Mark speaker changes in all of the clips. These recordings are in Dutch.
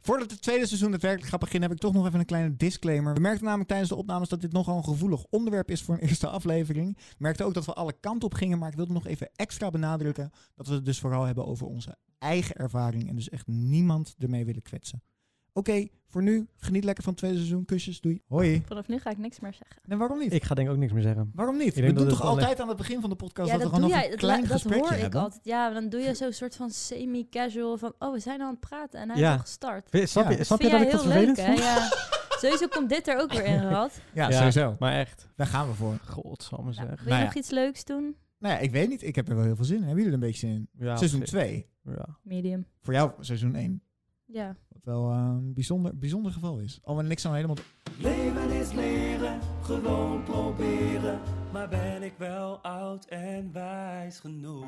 Speaker 1: Voordat het tweede seizoen daadwerkelijk gaat beginnen, heb ik toch nog even een kleine disclaimer. We merkten namelijk tijdens de opnames dat dit nogal een gevoelig onderwerp is voor een eerste aflevering. We merkten ook dat we alle kanten op gingen, maar ik wilde nog even extra benadrukken dat we het dus vooral hebben over onze eigen ervaring en dus echt niemand ermee willen kwetsen. Oké, voor nu, geniet lekker van het tweede seizoen. Kusjes, doei. Hoi.
Speaker 2: Vanaf nu ga ik niks meer zeggen.
Speaker 1: En waarom niet?
Speaker 3: Ik ga denk ik ook niks meer zeggen.
Speaker 1: Waarom niet?
Speaker 3: Ik denk
Speaker 1: We
Speaker 3: dat
Speaker 1: doen
Speaker 3: het
Speaker 1: toch
Speaker 3: gewoon
Speaker 1: altijd aan het begin van de podcast
Speaker 2: ja,
Speaker 1: dat
Speaker 2: dat
Speaker 1: we
Speaker 2: doe
Speaker 1: gewoon nog
Speaker 2: jij.
Speaker 1: een
Speaker 2: Dat,
Speaker 1: klein
Speaker 2: la- dat
Speaker 1: gesprekje
Speaker 2: hoor ik
Speaker 1: hebben.
Speaker 2: altijd. Ja, dan doe je zo'n soort van semi-casual van... Oh, we zijn al aan het praten en hij
Speaker 3: Ja.
Speaker 2: is al gestart.
Speaker 3: Vind- Snap,
Speaker 1: Ja.
Speaker 3: je, snap je
Speaker 2: vind jij
Speaker 3: dat ik dat
Speaker 2: heel leuk,
Speaker 3: vervelend
Speaker 2: hè?
Speaker 3: vond?
Speaker 2: Ja. Sowieso komt dit er ook weer in, Rad.
Speaker 1: Ja,
Speaker 3: Ja.
Speaker 1: sowieso.
Speaker 3: Maar echt,
Speaker 1: Daar gaan we voor.
Speaker 3: godsamme
Speaker 2: Nou, wil
Speaker 3: zeg.
Speaker 2: je
Speaker 1: Nou ja.
Speaker 2: nog iets leuks doen?
Speaker 1: Nou ja, ik weet niet. Ik heb er wel heel veel zin in. Hebben jullie er een beetje zin in?
Speaker 3: Ja,
Speaker 1: seizoen
Speaker 3: precies.
Speaker 1: 2.
Speaker 3: Ja.
Speaker 2: Medium.
Speaker 1: Voor jou seizoen 1.
Speaker 2: Ja.
Speaker 1: Wat wel eh, een bijzonder, bijzonder geval is. Al en ik zou helemaal...
Speaker 4: Leven is leren, gewoon proberen. Maar ben ik wel oud en wijs genoeg?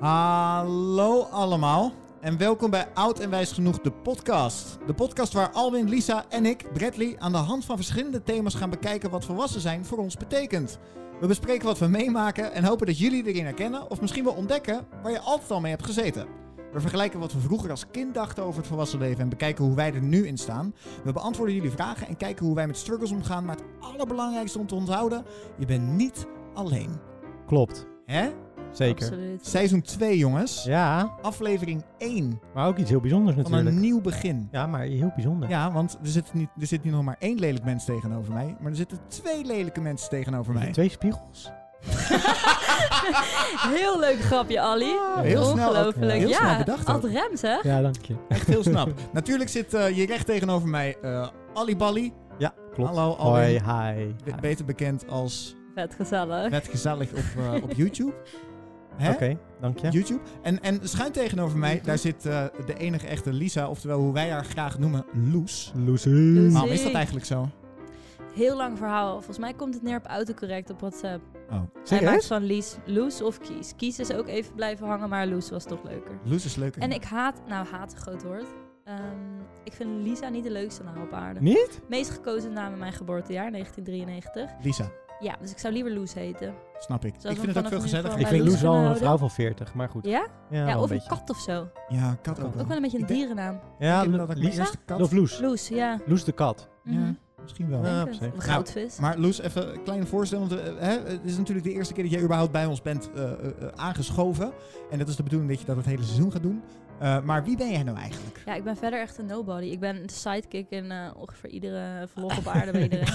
Speaker 1: Hallo allemaal. En welkom bij Oud en Wijs Genoeg, de podcast. De podcast waar Alwin, Lisa en ik, Bradley, aan de hand van verschillende thema's gaan bekijken wat volwassen zijn voor ons betekent. We bespreken wat we meemaken en hopen dat jullie erin herkennen of misschien wel ontdekken waar je altijd al mee hebt gezeten. We vergelijken wat we vroeger als kind dachten over het volwassen leven en bekijken hoe wij er nu in staan. We beantwoorden jullie vragen en kijken hoe wij met struggles omgaan. Maar het allerbelangrijkste om te onthouden, je bent niet alleen.
Speaker 3: Klopt,
Speaker 1: Hè?
Speaker 3: zeker.
Speaker 2: Absoluut.
Speaker 1: Seizoen 2 jongens.
Speaker 3: Ja,
Speaker 1: Aflevering 1
Speaker 3: maar ook iets heel bijzonders
Speaker 1: van een
Speaker 3: natuurlijk.
Speaker 1: nieuw begin.
Speaker 3: Ja, maar heel bijzonder.
Speaker 1: Oh, Ja, want er zit, niet, er zit niet nog maar één lelijk mens tegenover mij, maar er zitten twee lelijke mensen tegenover mij.
Speaker 3: Twee spiegels.
Speaker 2: Heel leuk grapje, Ali.
Speaker 1: Ah, Heel snel ook.
Speaker 2: Ongelooflijk.
Speaker 1: Heel snel
Speaker 2: ja,
Speaker 1: bedacht ook.
Speaker 2: Ad Rems, hè?
Speaker 3: Ja, dank je.
Speaker 1: Echt heel snap. Natuurlijk zit eh, je recht tegenover mij eh Ali Bali,
Speaker 3: Ja, klopt.
Speaker 1: Hallo,
Speaker 3: Hoi,
Speaker 1: Alwin.
Speaker 3: hi.
Speaker 1: be-
Speaker 3: hi.
Speaker 1: beter bekend als
Speaker 2: Vet gezellig.
Speaker 1: net gezellig op, eh, op YouTube. Hè?
Speaker 3: Oké, dank je.
Speaker 1: YouTube. En, en schuin tegenover mij, daar zit eh, de enige echte Lisa, oftewel hoe wij haar graag noemen, Loes.
Speaker 3: Lucy.
Speaker 1: Waarom is dat eigenlijk zo?
Speaker 2: Heel lang verhaal. Volgens mij komt het neer op autocorrect op WhatsApp.
Speaker 1: Oh.
Speaker 2: Hij maakt
Speaker 3: Serieus?
Speaker 2: van Lies, Loes of Kies. Kies is ook even blijven hangen, maar Loes was toch leuker.
Speaker 1: Loes is leuker.
Speaker 2: En ik haat, nou haat een groot woord. Ehm, ik vind Lisa niet de leukste naam op aarde.
Speaker 3: Niet?
Speaker 2: Meest gekozen naam in mijn geboortejaar, 1993.
Speaker 1: Lisa,
Speaker 2: Ja, dus ik zou liever Loes heten.
Speaker 1: snap ik.
Speaker 2: Zoals
Speaker 1: ik
Speaker 2: we
Speaker 1: vind het ook
Speaker 2: vanaf
Speaker 1: veel
Speaker 2: nu
Speaker 1: gezelliger.
Speaker 2: van
Speaker 3: Ik
Speaker 2: bij
Speaker 3: vind
Speaker 2: Loes
Speaker 3: Loes wel een
Speaker 2: kunnen
Speaker 3: vrouw van 40, maar goed.
Speaker 2: Ja?
Speaker 3: Ja,
Speaker 2: Ja,
Speaker 3: wel
Speaker 2: of
Speaker 3: een
Speaker 2: een
Speaker 3: beetje.
Speaker 2: kat of zo.
Speaker 1: Ja, kat ook wel.
Speaker 2: Ook wel een beetje een
Speaker 1: Ik denk-
Speaker 2: dierennaam.
Speaker 3: Ja,
Speaker 1: ik denk dat ik mijn
Speaker 3: Lisa?
Speaker 1: eerste kat...
Speaker 3: Of Loes?
Speaker 2: Loes, ja.
Speaker 3: Loes de kat.
Speaker 2: Mhm.
Speaker 1: Misschien wel. Eh,
Speaker 3: Ja, Nou.
Speaker 2: Denk het.
Speaker 3: op zich.
Speaker 2: Of een goudvis.
Speaker 1: Maar Loes, even een kleine voorstelling. Want eh, hè, het is natuurlijk de eerste keer dat jij überhaupt bij ons bent eh, eh, eh, aangeschoven. En dat is de bedoeling dat je dat het hele seizoen gaat doen. Eh, maar wie ben jij nou eigenlijk?
Speaker 2: Ja, ik ben verder echt een nobody. Ik ben de sidekick in eh, ongeveer iedere vlog op aarde bij iedereen.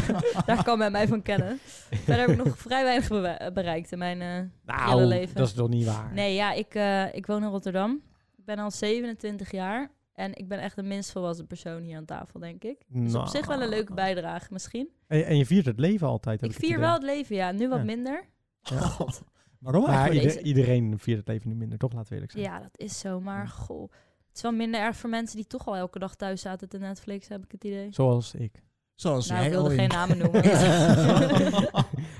Speaker 2: Daar kan men mij van kennen. Verder heb ik nog vrij weinig bewe- bereikt in mijn... eh, Hele
Speaker 3: Nou,
Speaker 2: leven.
Speaker 3: dat is toch niet waar?
Speaker 2: Nee, ja, ik, eh, ik woon in Rotterdam. Ik ben al 27 jaar. En ik ben echt de minst volwassen persoon hier aan tafel, denk ik. Dus
Speaker 3: Nou.
Speaker 2: op zich wel een leuke bijdrage misschien.
Speaker 3: En, en je viert het leven altijd. heb
Speaker 2: ik
Speaker 3: het
Speaker 2: vier
Speaker 3: idee.
Speaker 2: wel het leven, ja. Nu wat
Speaker 3: Ja.
Speaker 2: minder.
Speaker 1: Waarom
Speaker 3: Maar
Speaker 2: voor
Speaker 3: ieder-
Speaker 2: deze-
Speaker 3: iedereen viert het leven nu minder, toch? Laten we eerlijk zijn.
Speaker 2: Ja, dat is zo. Maar goh, het is wel minder erg voor mensen die toch al elke dag thuis zaten te Netflix, heb ik het idee.
Speaker 3: Zoals ik.
Speaker 1: Zoals
Speaker 2: nou, ik
Speaker 1: jij
Speaker 2: wilde
Speaker 1: Owen.
Speaker 2: geen namen noemen.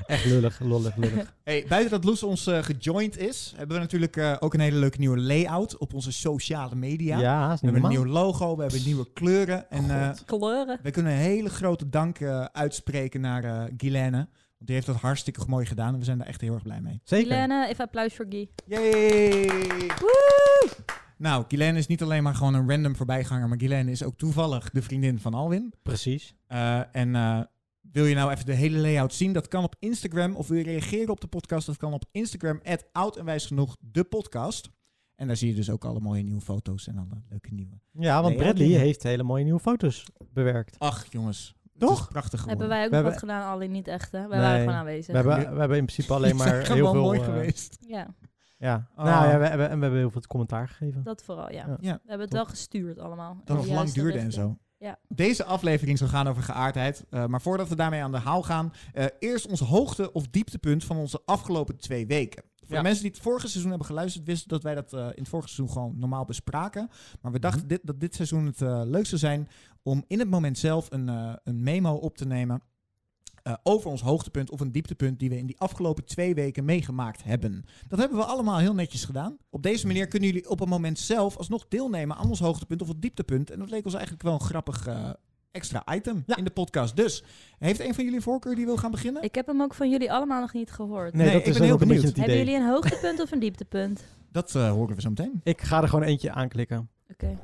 Speaker 3: Echt lullig, lullig, lullig.
Speaker 1: Hey, buiten dat Loes ons eh, gejoind is, hebben we natuurlijk eh, ook een hele leuke nieuwe layout op onze sociale media.
Speaker 3: Ja, is
Speaker 1: We
Speaker 3: niet
Speaker 1: hebben een
Speaker 3: normaal.
Speaker 1: nieuw logo, we hebben nieuwe kleuren. En eh,
Speaker 3: God.
Speaker 2: Kleuren.
Speaker 1: we kunnen een hele grote dank eh, uitspreken naar eh Guylaine. Want die heeft dat hartstikke mooi gedaan en we zijn daar echt heel erg blij mee.
Speaker 3: Zeker.
Speaker 2: Helene, even applaus voor Guy.
Speaker 1: Yay! Nou, Guylaine is niet alleen maar gewoon een random voorbijganger, maar Guylaine is ook toevallig de vriendin van Alwin.
Speaker 3: Precies.
Speaker 1: Eh, en eh, wil je nou even de hele layout zien? Dat kan op Instagram. Of wil je reageren op de podcast? Dat kan op Instagram, oud en wijs genoeg, de podcast. En daar zie je dus ook alle mooie nieuwe foto's en alle leuke nieuwe.
Speaker 3: Ja,
Speaker 1: Nee,
Speaker 3: want
Speaker 1: ja,
Speaker 3: Bradley
Speaker 1: dingen.
Speaker 3: heeft hele mooie nieuwe foto's bewerkt. Dus
Speaker 1: Ach jongens, het is
Speaker 3: Toch?
Speaker 1: prachtig geworden.
Speaker 2: Hebben wij ook
Speaker 3: We
Speaker 2: nog
Speaker 3: hebben-
Speaker 2: wat gedaan, alleen niet echt, hè? Wij
Speaker 3: Nee.
Speaker 2: waren gewoon aanwezig.
Speaker 3: We hebben, we hebben in principe alleen
Speaker 1: Die zijn
Speaker 3: maar heel
Speaker 1: gewoon
Speaker 3: veel...
Speaker 1: mooi
Speaker 3: eh,
Speaker 1: geweest.
Speaker 2: Ja,
Speaker 3: Ja.
Speaker 1: Ah.
Speaker 3: Nou ja, we hebben, en we hebben heel veel commentaar gegeven.
Speaker 2: Oh. dat vooral, ja.
Speaker 3: Ja.
Speaker 2: We hebben het wel gestuurd allemaal. In
Speaker 1: Dat
Speaker 2: de
Speaker 1: nog lang
Speaker 2: juiste
Speaker 1: duurde en
Speaker 2: richting.
Speaker 1: zo.
Speaker 2: Ja.
Speaker 1: Deze aflevering zal gaan over geaardheid. eh, maar voordat we daarmee aan de haal gaan, eh, eerst ons hoogte- of dieptepunt van onze afgelopen twee weken. Voor
Speaker 3: Ja.
Speaker 1: de mensen die het vorige seizoen hebben geluisterd, wisten dat wij dat eh, in het vorige seizoen gewoon normaal bespraken. Maar we dachten dit, dat dit seizoen het eh, leuk zou zijn om in het moment zelf een, eh, een memo op te nemen. eh, over ons hoogtepunt of een dieptepunt die we in die afgelopen twee weken meegemaakt hebben. Dat hebben we allemaal heel netjes gedaan. Op deze manier kunnen jullie op een moment zelf alsnog deelnemen aan ons hoogtepunt of het dieptepunt. En dat leek ons eigenlijk wel een grappig eh, extra item
Speaker 3: Ja.
Speaker 1: in de podcast. Dus, heeft een van jullie een voorkeur die wil gaan beginnen?
Speaker 2: Ik heb hem ook van jullie allemaal nog niet gehoord.
Speaker 3: Nee,
Speaker 1: Nee,
Speaker 3: dat
Speaker 1: ik
Speaker 3: is
Speaker 1: ben heel
Speaker 3: ook een beetje
Speaker 1: benieuwd.
Speaker 3: het
Speaker 2: Hebben
Speaker 3: idee.
Speaker 2: jullie een hoogtepunt of een dieptepunt?
Speaker 1: Dat eh, horen we zo meteen.
Speaker 3: Ik ga er gewoon eentje aanklikken.
Speaker 2: Oké.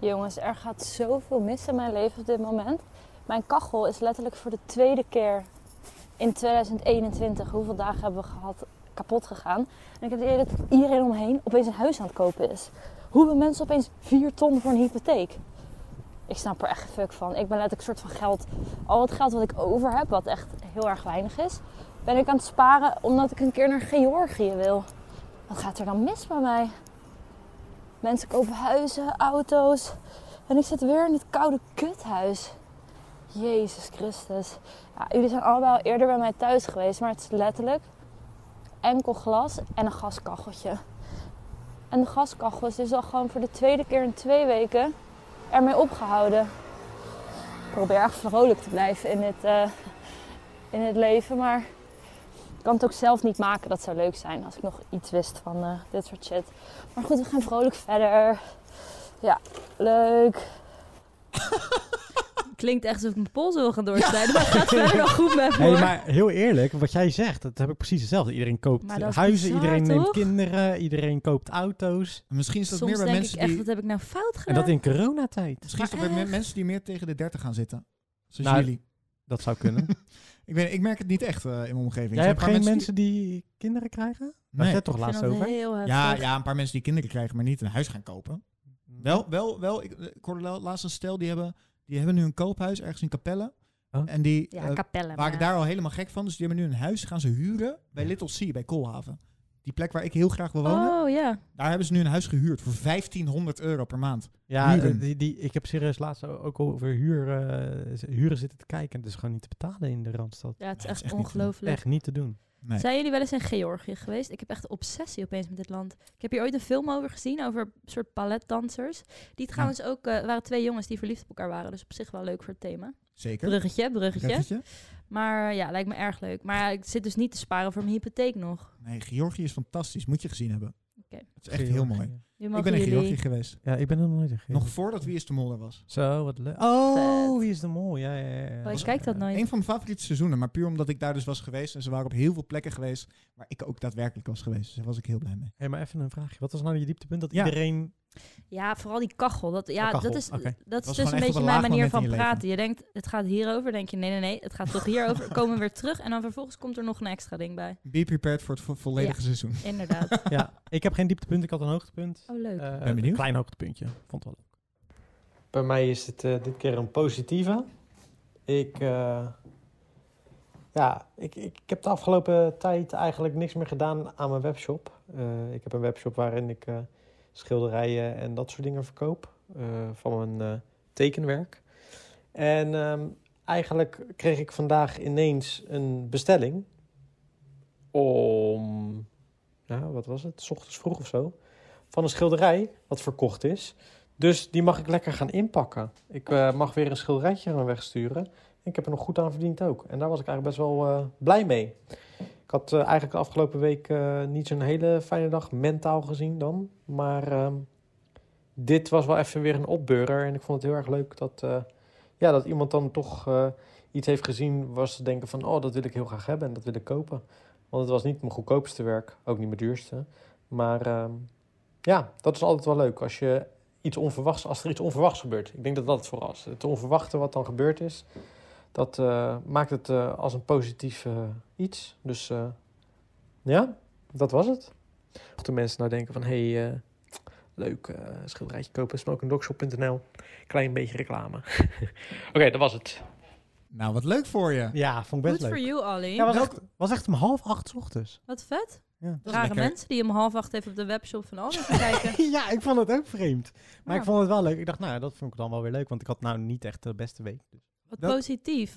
Speaker 5: Jongens, er gaat zoveel mis in mijn leven op dit moment. Mijn kachel is letterlijk voor de tweede keer in 2021, hoeveel dagen hebben we gehad, kapot gegaan. En ik heb het idee dat iedereen omheen opeens een huis aan het kopen is. Hoeveel mensen opeens 4 ton voor een hypotheek? Ik snap er echt geen fuck van. Ik ben letterlijk een soort van geld, al het geld wat ik over heb, wat echt heel erg weinig is, ben ik aan het sparen omdat ik een keer naar Georgië wil. Wat gaat er dan mis bij mij? Mensen kopen huizen, auto's. En ik zit weer in het koude kuthuis. Jezus Christus. Ja, jullie zijn allemaal al eerder bij mij thuis geweest, maar het is letterlijk enkel glas en een gaskacheltje. En de gaskachel is dus al gewoon voor de tweede keer in twee weken ermee opgehouden. Ik probeer echt vrolijk te blijven in het, eh, in het leven, maar ik kan het ook zelf niet maken. Dat zou leuk zijn als ik nog iets wist van eh, dit soort shit. Maar goed, we gaan vrolijk verder. Ja, leuk.
Speaker 2: Klinkt echt alsof ik mijn polsen wil gaan doorsnijden, maar het gaat verder wel goed met me.
Speaker 3: Hey,
Speaker 2: hoor.
Speaker 3: maar heel eerlijk, wat jij zegt, dat heb ik precies hetzelfde. Iedereen koopt
Speaker 2: Maar dat is
Speaker 3: huizen,
Speaker 2: bizar,
Speaker 3: iedereen neemt
Speaker 2: toch?
Speaker 3: kinderen, iedereen koopt auto's.
Speaker 1: Misschien is dat
Speaker 2: Soms
Speaker 1: meer bij
Speaker 2: denk
Speaker 1: mensen
Speaker 2: ik echt,
Speaker 1: die...
Speaker 2: wat heb ik nou fout
Speaker 3: En
Speaker 2: gedaan?
Speaker 3: dat in coronatijd.
Speaker 1: Misschien is dat
Speaker 2: Maar
Speaker 1: bij me-
Speaker 2: echt?
Speaker 1: mensen die meer tegen de 30 gaan zitten. Zoals
Speaker 3: Nou,
Speaker 1: jullie.
Speaker 3: Dat zou kunnen.
Speaker 1: Ik, weet, ik merk het niet echt eh, in mijn omgeving.
Speaker 3: jij
Speaker 1: Er zijn
Speaker 3: hebt
Speaker 1: een
Speaker 3: geen
Speaker 1: paar
Speaker 3: mensen, die... kinderen krijgen?
Speaker 1: die... Nee.
Speaker 3: Daar had jij het toch
Speaker 2: Ik vind
Speaker 3: laatst
Speaker 2: dat
Speaker 3: over?
Speaker 2: heel heftig.
Speaker 1: Ja, ja, een paar mensen die kinderen krijgen, maar niet een huis gaan kopen. Wel, wel, wel. Ik, ik hoorde la- laatst een stel, die hebben, die hebben nu een koophuis ergens in Capelle.
Speaker 3: Huh?
Speaker 1: En die
Speaker 2: Ja,
Speaker 1: eh,
Speaker 2: kapellen.
Speaker 1: waren
Speaker 2: maar-
Speaker 1: daar al helemaal gek van. Dus die hebben nu een huis, gaan ze huren bij Little C, bij Koolhaven. Die plek waar ik heel graag wil wonen.
Speaker 2: Oh ja.
Speaker 1: Daar hebben ze nu een huis gehuurd voor 1500 euro per maand.
Speaker 3: Ja,
Speaker 1: Huren.
Speaker 3: eh, die, die, ik heb serieus laatst ook over huur, eh, z- huren zitten te kijken. En het is gewoon niet te betalen in de Randstad.
Speaker 2: ja, het is
Speaker 1: Nee, het is echt
Speaker 2: echt,
Speaker 1: niet te doen.
Speaker 2: ongelooflijk.
Speaker 3: Echt niet te doen.
Speaker 1: Nee.
Speaker 2: Zijn jullie wel eens in Georgië geweest? Ik heb echt een obsessie opeens met dit land. Ik heb hier ooit een film over gezien, over een soort balletdansers. Die trouwens ook, eh, waren twee jongens die verliefd op elkaar waren. Dus op zich wel leuk voor het thema.
Speaker 1: Zeker.
Speaker 2: Bruggetje, bruggetje.
Speaker 1: Bruggetje?
Speaker 2: Maar ja, lijkt me erg leuk. Maar ik zit dus niet te sparen voor mijn hypotheek nog.
Speaker 1: Nee, Georgië is fantastisch. Moet je gezien hebben.
Speaker 2: Oké.
Speaker 1: Het is echt heel mooi.
Speaker 3: Georgië.
Speaker 2: Nu
Speaker 1: Ik
Speaker 2: mogen
Speaker 1: ben in
Speaker 2: jullie-
Speaker 1: Georgië geweest.
Speaker 3: Ja, ik ben er nog nooit in
Speaker 1: Nog
Speaker 3: Georgië.
Speaker 1: voordat Wie is de Mol er was.
Speaker 3: Zo, wat leuk. Oh,
Speaker 2: Vet.
Speaker 3: wie is de mol? Ja, ja, ja, ja.
Speaker 2: Oh, ik
Speaker 3: Was-
Speaker 2: kijk dat nooit.
Speaker 1: Een van mijn favoriete seizoenen, maar puur omdat ik daar dus was geweest. En ze waren op heel veel plekken geweest waar ik ook daadwerkelijk was geweest. Dus daar was ik heel blij mee.
Speaker 3: Hé, maar even een vraagje. Wat was nou je dieptepunt dat
Speaker 1: Ja.
Speaker 3: iedereen...
Speaker 2: Ja, vooral die kachel. Dat, ja,
Speaker 3: Oh, kachel,
Speaker 2: Dat is,
Speaker 3: oké.
Speaker 2: dat
Speaker 1: was
Speaker 2: is dus
Speaker 1: gewoon
Speaker 2: een
Speaker 1: echt op
Speaker 2: beetje
Speaker 1: een
Speaker 2: mijn
Speaker 1: laag
Speaker 2: manier
Speaker 1: moment
Speaker 2: van
Speaker 1: in je
Speaker 2: praten. Je denkt, het gaat hierover. denk je, nee, nee, nee. Het gaat toch hierover. Komen we weer terug. En dan vervolgens komt er nog een extra ding bij.
Speaker 1: Be prepared voor het vo- volledige seizoen.
Speaker 2: Inderdaad.
Speaker 3: ja, ik heb geen dieptepunt. Ik had een hoogtepunt.
Speaker 2: Oh, leuk.
Speaker 3: Eh,
Speaker 1: Ben benieuwd.
Speaker 3: Een klein hoogtepuntje. Vond het wel leuk. Bij mij is het eh, dit keer een positieve. Ik, ja, ik, ik, ik heb de afgelopen tijd eigenlijk niks meer gedaan aan mijn webshop. Eh, ik heb een webshop waarin ik eh, schilderijen en dat soort dingen verkoop eh, van mijn eh, tekenwerk. En ehm, eigenlijk kreeg ik vandaag ineens een bestelling om, nou, wat was het, S ochtends vroeg of zo, van een schilderij wat verkocht is. Dus die mag ik lekker gaan inpakken. Ik eh, mag weer een schilderijtje gaan wegsturen. Ik heb er nog goed aan verdiend ook. En daar was ik eigenlijk best wel eh, blij mee. Ik had eh, eigenlijk de afgelopen week eh, niet zo'n hele fijne dag mentaal gezien dan. Maar ehm, dit was wel even weer een opbeurer. En ik vond het heel erg leuk dat, eh, ja, dat iemand dan toch eh, iets heeft gezien... waar ze denken van, oh, dat wil ik heel graag hebben en dat wil ik kopen. Want het was niet mijn goedkoopste werk, ook niet mijn duurste. Maar ehm, ja, dat is altijd wel leuk als, je iets onverwachts, als er iets onverwachts gebeurt. Ik denk dat dat het vooral is. Het onverwachte wat dan gebeurd is... Dat eh, maakt het eh, als een positief eh, iets. Dus eh, ja, dat was het. Of de mensen nou denken van... hé, hey, eh, leuk eh, schilderijtje kopen. smokingdogshop.nl Klein beetje reclame. Oké, dat was het.
Speaker 1: Nou, wat leuk voor je.
Speaker 3: Ja, vond
Speaker 2: Good for you, Ollie.
Speaker 3: was, echt, was echt om half acht ochtends.
Speaker 2: Wat vet.
Speaker 3: Ja.
Speaker 1: is
Speaker 2: Rare
Speaker 1: lekker.
Speaker 2: mensen die om half acht even op de webshop van Ollie gaan kijken.
Speaker 3: ja, ik vond het ook vreemd. Maar
Speaker 2: Ja.
Speaker 3: ik vond het wel leuk. Ik dacht, nou, dat vond ik dan wel weer leuk. Want ik had nou niet echt de beste week.
Speaker 2: Wat
Speaker 1: Welk-
Speaker 2: positief.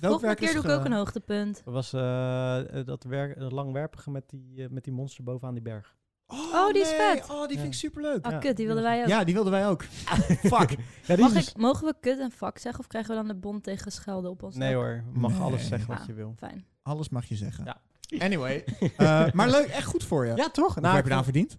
Speaker 1: welk
Speaker 2: Volgende
Speaker 1: werk is
Speaker 2: keer doe ik
Speaker 1: ge-
Speaker 2: ook een hoogtepunt.
Speaker 3: Dat was eh, eh, dat, werk, dat langwerpige met die, eh, met die monster bovenaan die berg.
Speaker 2: Oh, die is vet.
Speaker 1: Oh, die
Speaker 3: Ja.
Speaker 1: vind ik superleuk.
Speaker 2: Ah,
Speaker 3: Ja,
Speaker 2: kut, die
Speaker 3: die
Speaker 2: wilden
Speaker 3: was-
Speaker 2: wij ook.
Speaker 1: Ja, die wilden wij ook. Fuck.
Speaker 3: Ja, die
Speaker 2: Mag
Speaker 3: is-
Speaker 2: ik, mogen we kut en fuck zeggen of krijgen we dan de bond tegen schelden op ons?
Speaker 3: Nee
Speaker 2: dak?
Speaker 3: hoor, je mag
Speaker 1: Nee.
Speaker 3: alles zeggen wat
Speaker 2: Ah.
Speaker 3: je wil.
Speaker 2: Fijn.
Speaker 1: Alles mag je zeggen.
Speaker 3: Ja.
Speaker 1: Anyway. eh, maar leuk, echt goed voor je.
Speaker 3: Ja, toch? Nou,
Speaker 2: nou,
Speaker 1: Hoeveel heb je daar verdiend?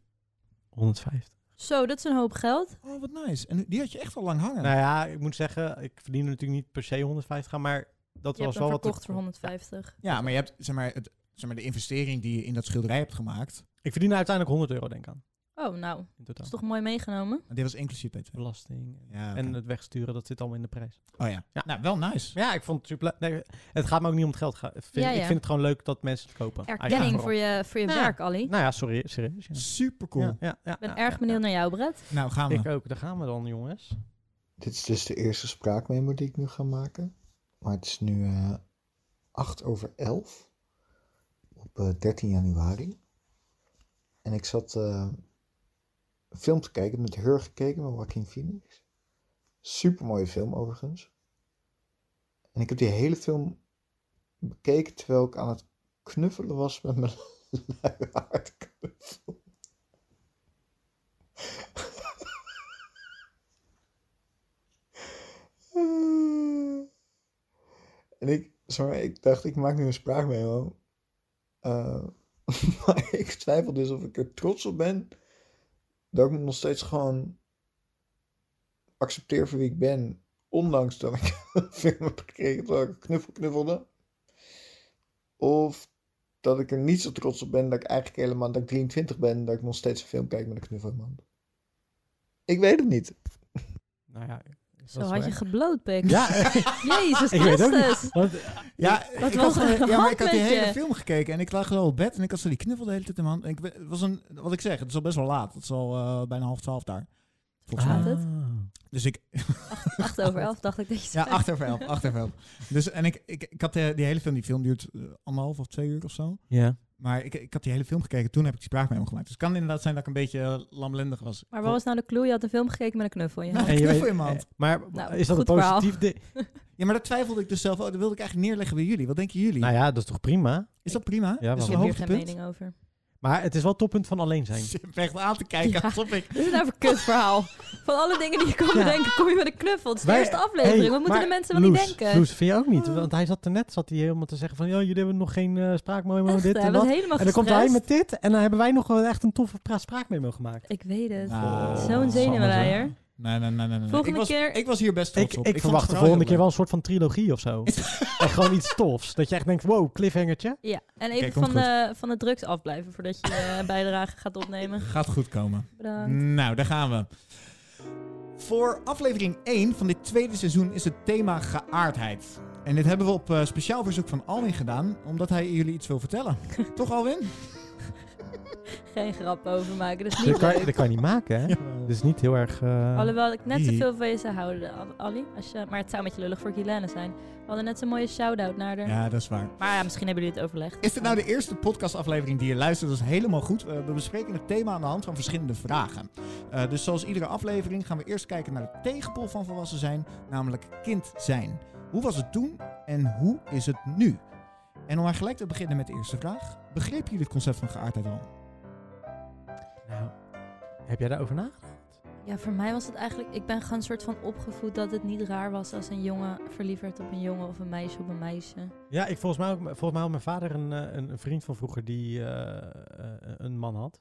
Speaker 3: 150.
Speaker 2: Zo, dat is een hoop geld.
Speaker 1: Oh, wat nice. En die had je echt al lang hangen.
Speaker 3: Nou ja, ik moet zeggen, ik verdien natuurlijk niet per se 150 gaan, maar dat
Speaker 2: Je
Speaker 3: was
Speaker 2: hebt hem
Speaker 3: wel wat. ik-
Speaker 2: verkocht voor 150.
Speaker 1: Ja, maar je hebt zeg maar, het, zeg maar, de investering die je in dat schilderij hebt gemaakt.
Speaker 3: Ik verdien uiteindelijk 100 euro, denk ik aan.
Speaker 2: Oh, nou, dat
Speaker 6: in totaal.
Speaker 2: is toch mooi meegenomen?
Speaker 1: Dit was inclusief BTW.
Speaker 6: Belasting en,
Speaker 1: Ja, oké.
Speaker 6: en het wegsturen, dat zit allemaal in de prijs.
Speaker 1: oh ja.
Speaker 6: Ja.
Speaker 1: Nou, wel nice.
Speaker 6: Ja, ik vond het super. le- Nee, het gaat me ook niet om het geld. Ga- ik Vind,
Speaker 2: Ja,
Speaker 6: Ik
Speaker 2: ja.
Speaker 6: vind het gewoon leuk dat mensen het kopen.
Speaker 2: Erkenning
Speaker 6: Eigenlijk
Speaker 2: voor je, voor je
Speaker 6: Ja.
Speaker 2: werk, Ali.
Speaker 6: Nou ja, sorry, serieus. Ja.
Speaker 1: Super cool.
Speaker 6: Ja, ja, ja,
Speaker 2: Ik ben
Speaker 6: ja,
Speaker 2: erg
Speaker 6: ja,
Speaker 2: benieuwd
Speaker 6: ja.
Speaker 2: naar jou, Brett.
Speaker 1: Nou, gaan we.
Speaker 6: Ik ook, daar gaan we dan, jongens.
Speaker 7: Dit is dus de eerste spraakmemo die ik nu ga maken. Maar het is nu eh 8 over 11 op eh, 13 januari. En ik zat eh, een film te kijken, met Heur gekeken met Joaquin Phoenix. Super mooie film overigens. En ik heb die hele film bekeken terwijl ik aan het knuffelen was met mijn luiaardknuffel. En ik, sorry, ik dacht, ik maak nu een spraakmemo. Eh, maar ik twijfel dus of ik er trots op ben. Dat ik me nog steeds gewoon accepteer voor wie ik ben. Ondanks dat ik een film heb gekregen dat ik knuffel knuffelde. Of dat ik er niet zo trots op ben dat ik eigenlijk helemaal dat ik 23 ben. Dat ik nog steeds een film kijk met een knuffel in mijn hand. Ik weet het niet.
Speaker 6: Nou ja, dat
Speaker 2: Zo
Speaker 6: is
Speaker 2: had
Speaker 6: wel
Speaker 2: je
Speaker 6: echt-
Speaker 2: gebloot, Pik.
Speaker 6: Ja,
Speaker 2: Jezus
Speaker 6: ik weet ook
Speaker 2: Christus.
Speaker 6: niet. Want,
Speaker 1: Ja,
Speaker 2: Wat
Speaker 1: ik
Speaker 2: was
Speaker 1: had,
Speaker 2: er aan
Speaker 1: gewoon-
Speaker 2: de
Speaker 1: ja, maar
Speaker 2: hand
Speaker 1: ik had die
Speaker 2: met
Speaker 1: hele
Speaker 2: je?
Speaker 1: film gekeken en ik lag gewoon op bed en ik had zo die knuffel de hele tijd in mijn hand. En ik, we- het was een, wat ik zeg, het is al best wel laat. Het is al eh, bijna half twaalf daar. Volgens
Speaker 2: Ah.
Speaker 1: mij.
Speaker 2: het?
Speaker 1: Dus ik,
Speaker 2: 8 over 11 dacht ik dat je
Speaker 1: ja,
Speaker 2: zei.
Speaker 1: acht over elf, acht over elf. Dus, en ik, ik, ik had eh, die hele film, die film duurt eh, anderhalf of twee uur of zo.
Speaker 6: ja.
Speaker 1: Maar ik, ik had die hele film gekeken, toen heb ik die spraakmemo gemaakt. Dus het kan inderdaad zijn dat ik een beetje eh, lamlendig was.
Speaker 2: Maar wat was nou de clue? Je had een film gekeken met een knuffel in je
Speaker 1: Nou,
Speaker 2: hand.
Speaker 1: een knuffel in mijn hand.
Speaker 6: eh, Maar
Speaker 2: Nou,
Speaker 6: is dat een
Speaker 2: goed verhaal.
Speaker 6: positief ding?
Speaker 1: Ja, maar dat twijfelde ik dus zelf ook. Dat wilde ik eigenlijk neerleggen bij jullie. Wat denken jullie?
Speaker 6: Nou ja, dat is toch prima?
Speaker 1: Is dat prima?
Speaker 6: Ja,
Speaker 1: is
Speaker 6: wel.
Speaker 1: dat
Speaker 2: Ik
Speaker 1: een
Speaker 2: heb hier geen
Speaker 1: hoogtepunt?
Speaker 2: mening over.
Speaker 6: Maar het is wel het toppunt van alleen zijn.
Speaker 1: Ze zit me echt aan te kijken
Speaker 2: Ja.
Speaker 1: alsof ik...
Speaker 2: Dit is nou een kut verhaal. Van alle dingen die je kan
Speaker 6: Ja.
Speaker 2: bedenken, kom je met een knuffel. Het is de
Speaker 6: Wij-
Speaker 2: eerste aflevering.
Speaker 6: Hey,
Speaker 2: Wat moeten
Speaker 6: maar
Speaker 2: de mensen wel niet
Speaker 6: Loes,
Speaker 2: denken?
Speaker 6: Loes, vind je ook niet? Want hij zat er net, zat hij helemaal te zeggen van... joh, jullie hebben nog geen eh spraakmemo,
Speaker 2: Echt,
Speaker 6: dit
Speaker 2: hè,
Speaker 6: en
Speaker 2: we
Speaker 6: dat.
Speaker 2: zijn helemaal
Speaker 6: En dan komt hij
Speaker 2: gestrest.
Speaker 6: met dit en dan hebben wij nog wel echt een toffe pra- spraakmemo gemaakt.
Speaker 2: Ik weet het.
Speaker 6: Nou.
Speaker 1: Ah.
Speaker 2: Zo'n zenuwleier.
Speaker 1: Nee, nee, nee, nee. nee.
Speaker 2: Volgende
Speaker 1: ik was,
Speaker 2: keer-
Speaker 1: Ik was hier best trots
Speaker 6: Ik,
Speaker 1: op.
Speaker 6: ik
Speaker 1: vond het
Speaker 6: verwacht de
Speaker 1: vooral
Speaker 6: volgende
Speaker 1: heel
Speaker 6: keer wel een soort van trilogie of zo. en gewoon iets tofs. Dat je echt denkt, wow, cliffhangertje.
Speaker 2: Ja, en
Speaker 1: Oké,
Speaker 2: even
Speaker 1: komt
Speaker 2: van, de, van de drugs afblijven voordat je eh, bijdrage gaat opnemen.
Speaker 1: leuk. Gaat goed komen.
Speaker 6: Mm.
Speaker 2: Bedankt.
Speaker 1: Nou, daar gaan we. Voor aflevering 1 van dit tweede seizoen is het thema geaardheid. En dit hebben we op eh, speciaal verzoek van Alwin gedaan, omdat hij jullie iets wil vertellen. Toch Alwin?
Speaker 2: Geen grap over maken. Dat is
Speaker 6: Dat
Speaker 2: niet
Speaker 6: kan,
Speaker 2: leuk.
Speaker 6: je- dat kan je niet maken, hè? Dat is niet heel erg... eh,
Speaker 2: Alhoewel ik net
Speaker 1: Die-
Speaker 2: zoveel van je zou houden, Al- Ali. Als je, maar het zou met je lullig voor Guilaine zijn. We hadden net zo'n mooie shout-out naar haar.
Speaker 1: Ja, dat is waar.
Speaker 2: Maar ja, misschien hebben jullie het overlegd.
Speaker 1: Is dit nou de eerste podcastaflevering die je luistert? Dat is helemaal goed. Eh, we bespreken het thema aan de hand van verschillende vragen. Eh, dus zoals iedere aflevering gaan we eerst kijken naar de tegenpol van volwassen zijn, namelijk kind zijn. Hoe was het toen en hoe is het nu? En om maar gelijk te beginnen met de eerste vraag. Begrepen jullie het concept van geaardheid al?
Speaker 6: Nou, heb jij daarover nagedacht?
Speaker 2: Ja, voor mij was het eigenlijk... Ik ben gewoon soort van opgevoed dat het niet raar was als een jongen verliefd werd op een jongen of een meisje op een meisje.
Speaker 6: Ja, ik, volgens, mij ook, volgens mij had mijn vader een, eh, een, een vriend van vroeger die eh, eh, een man had.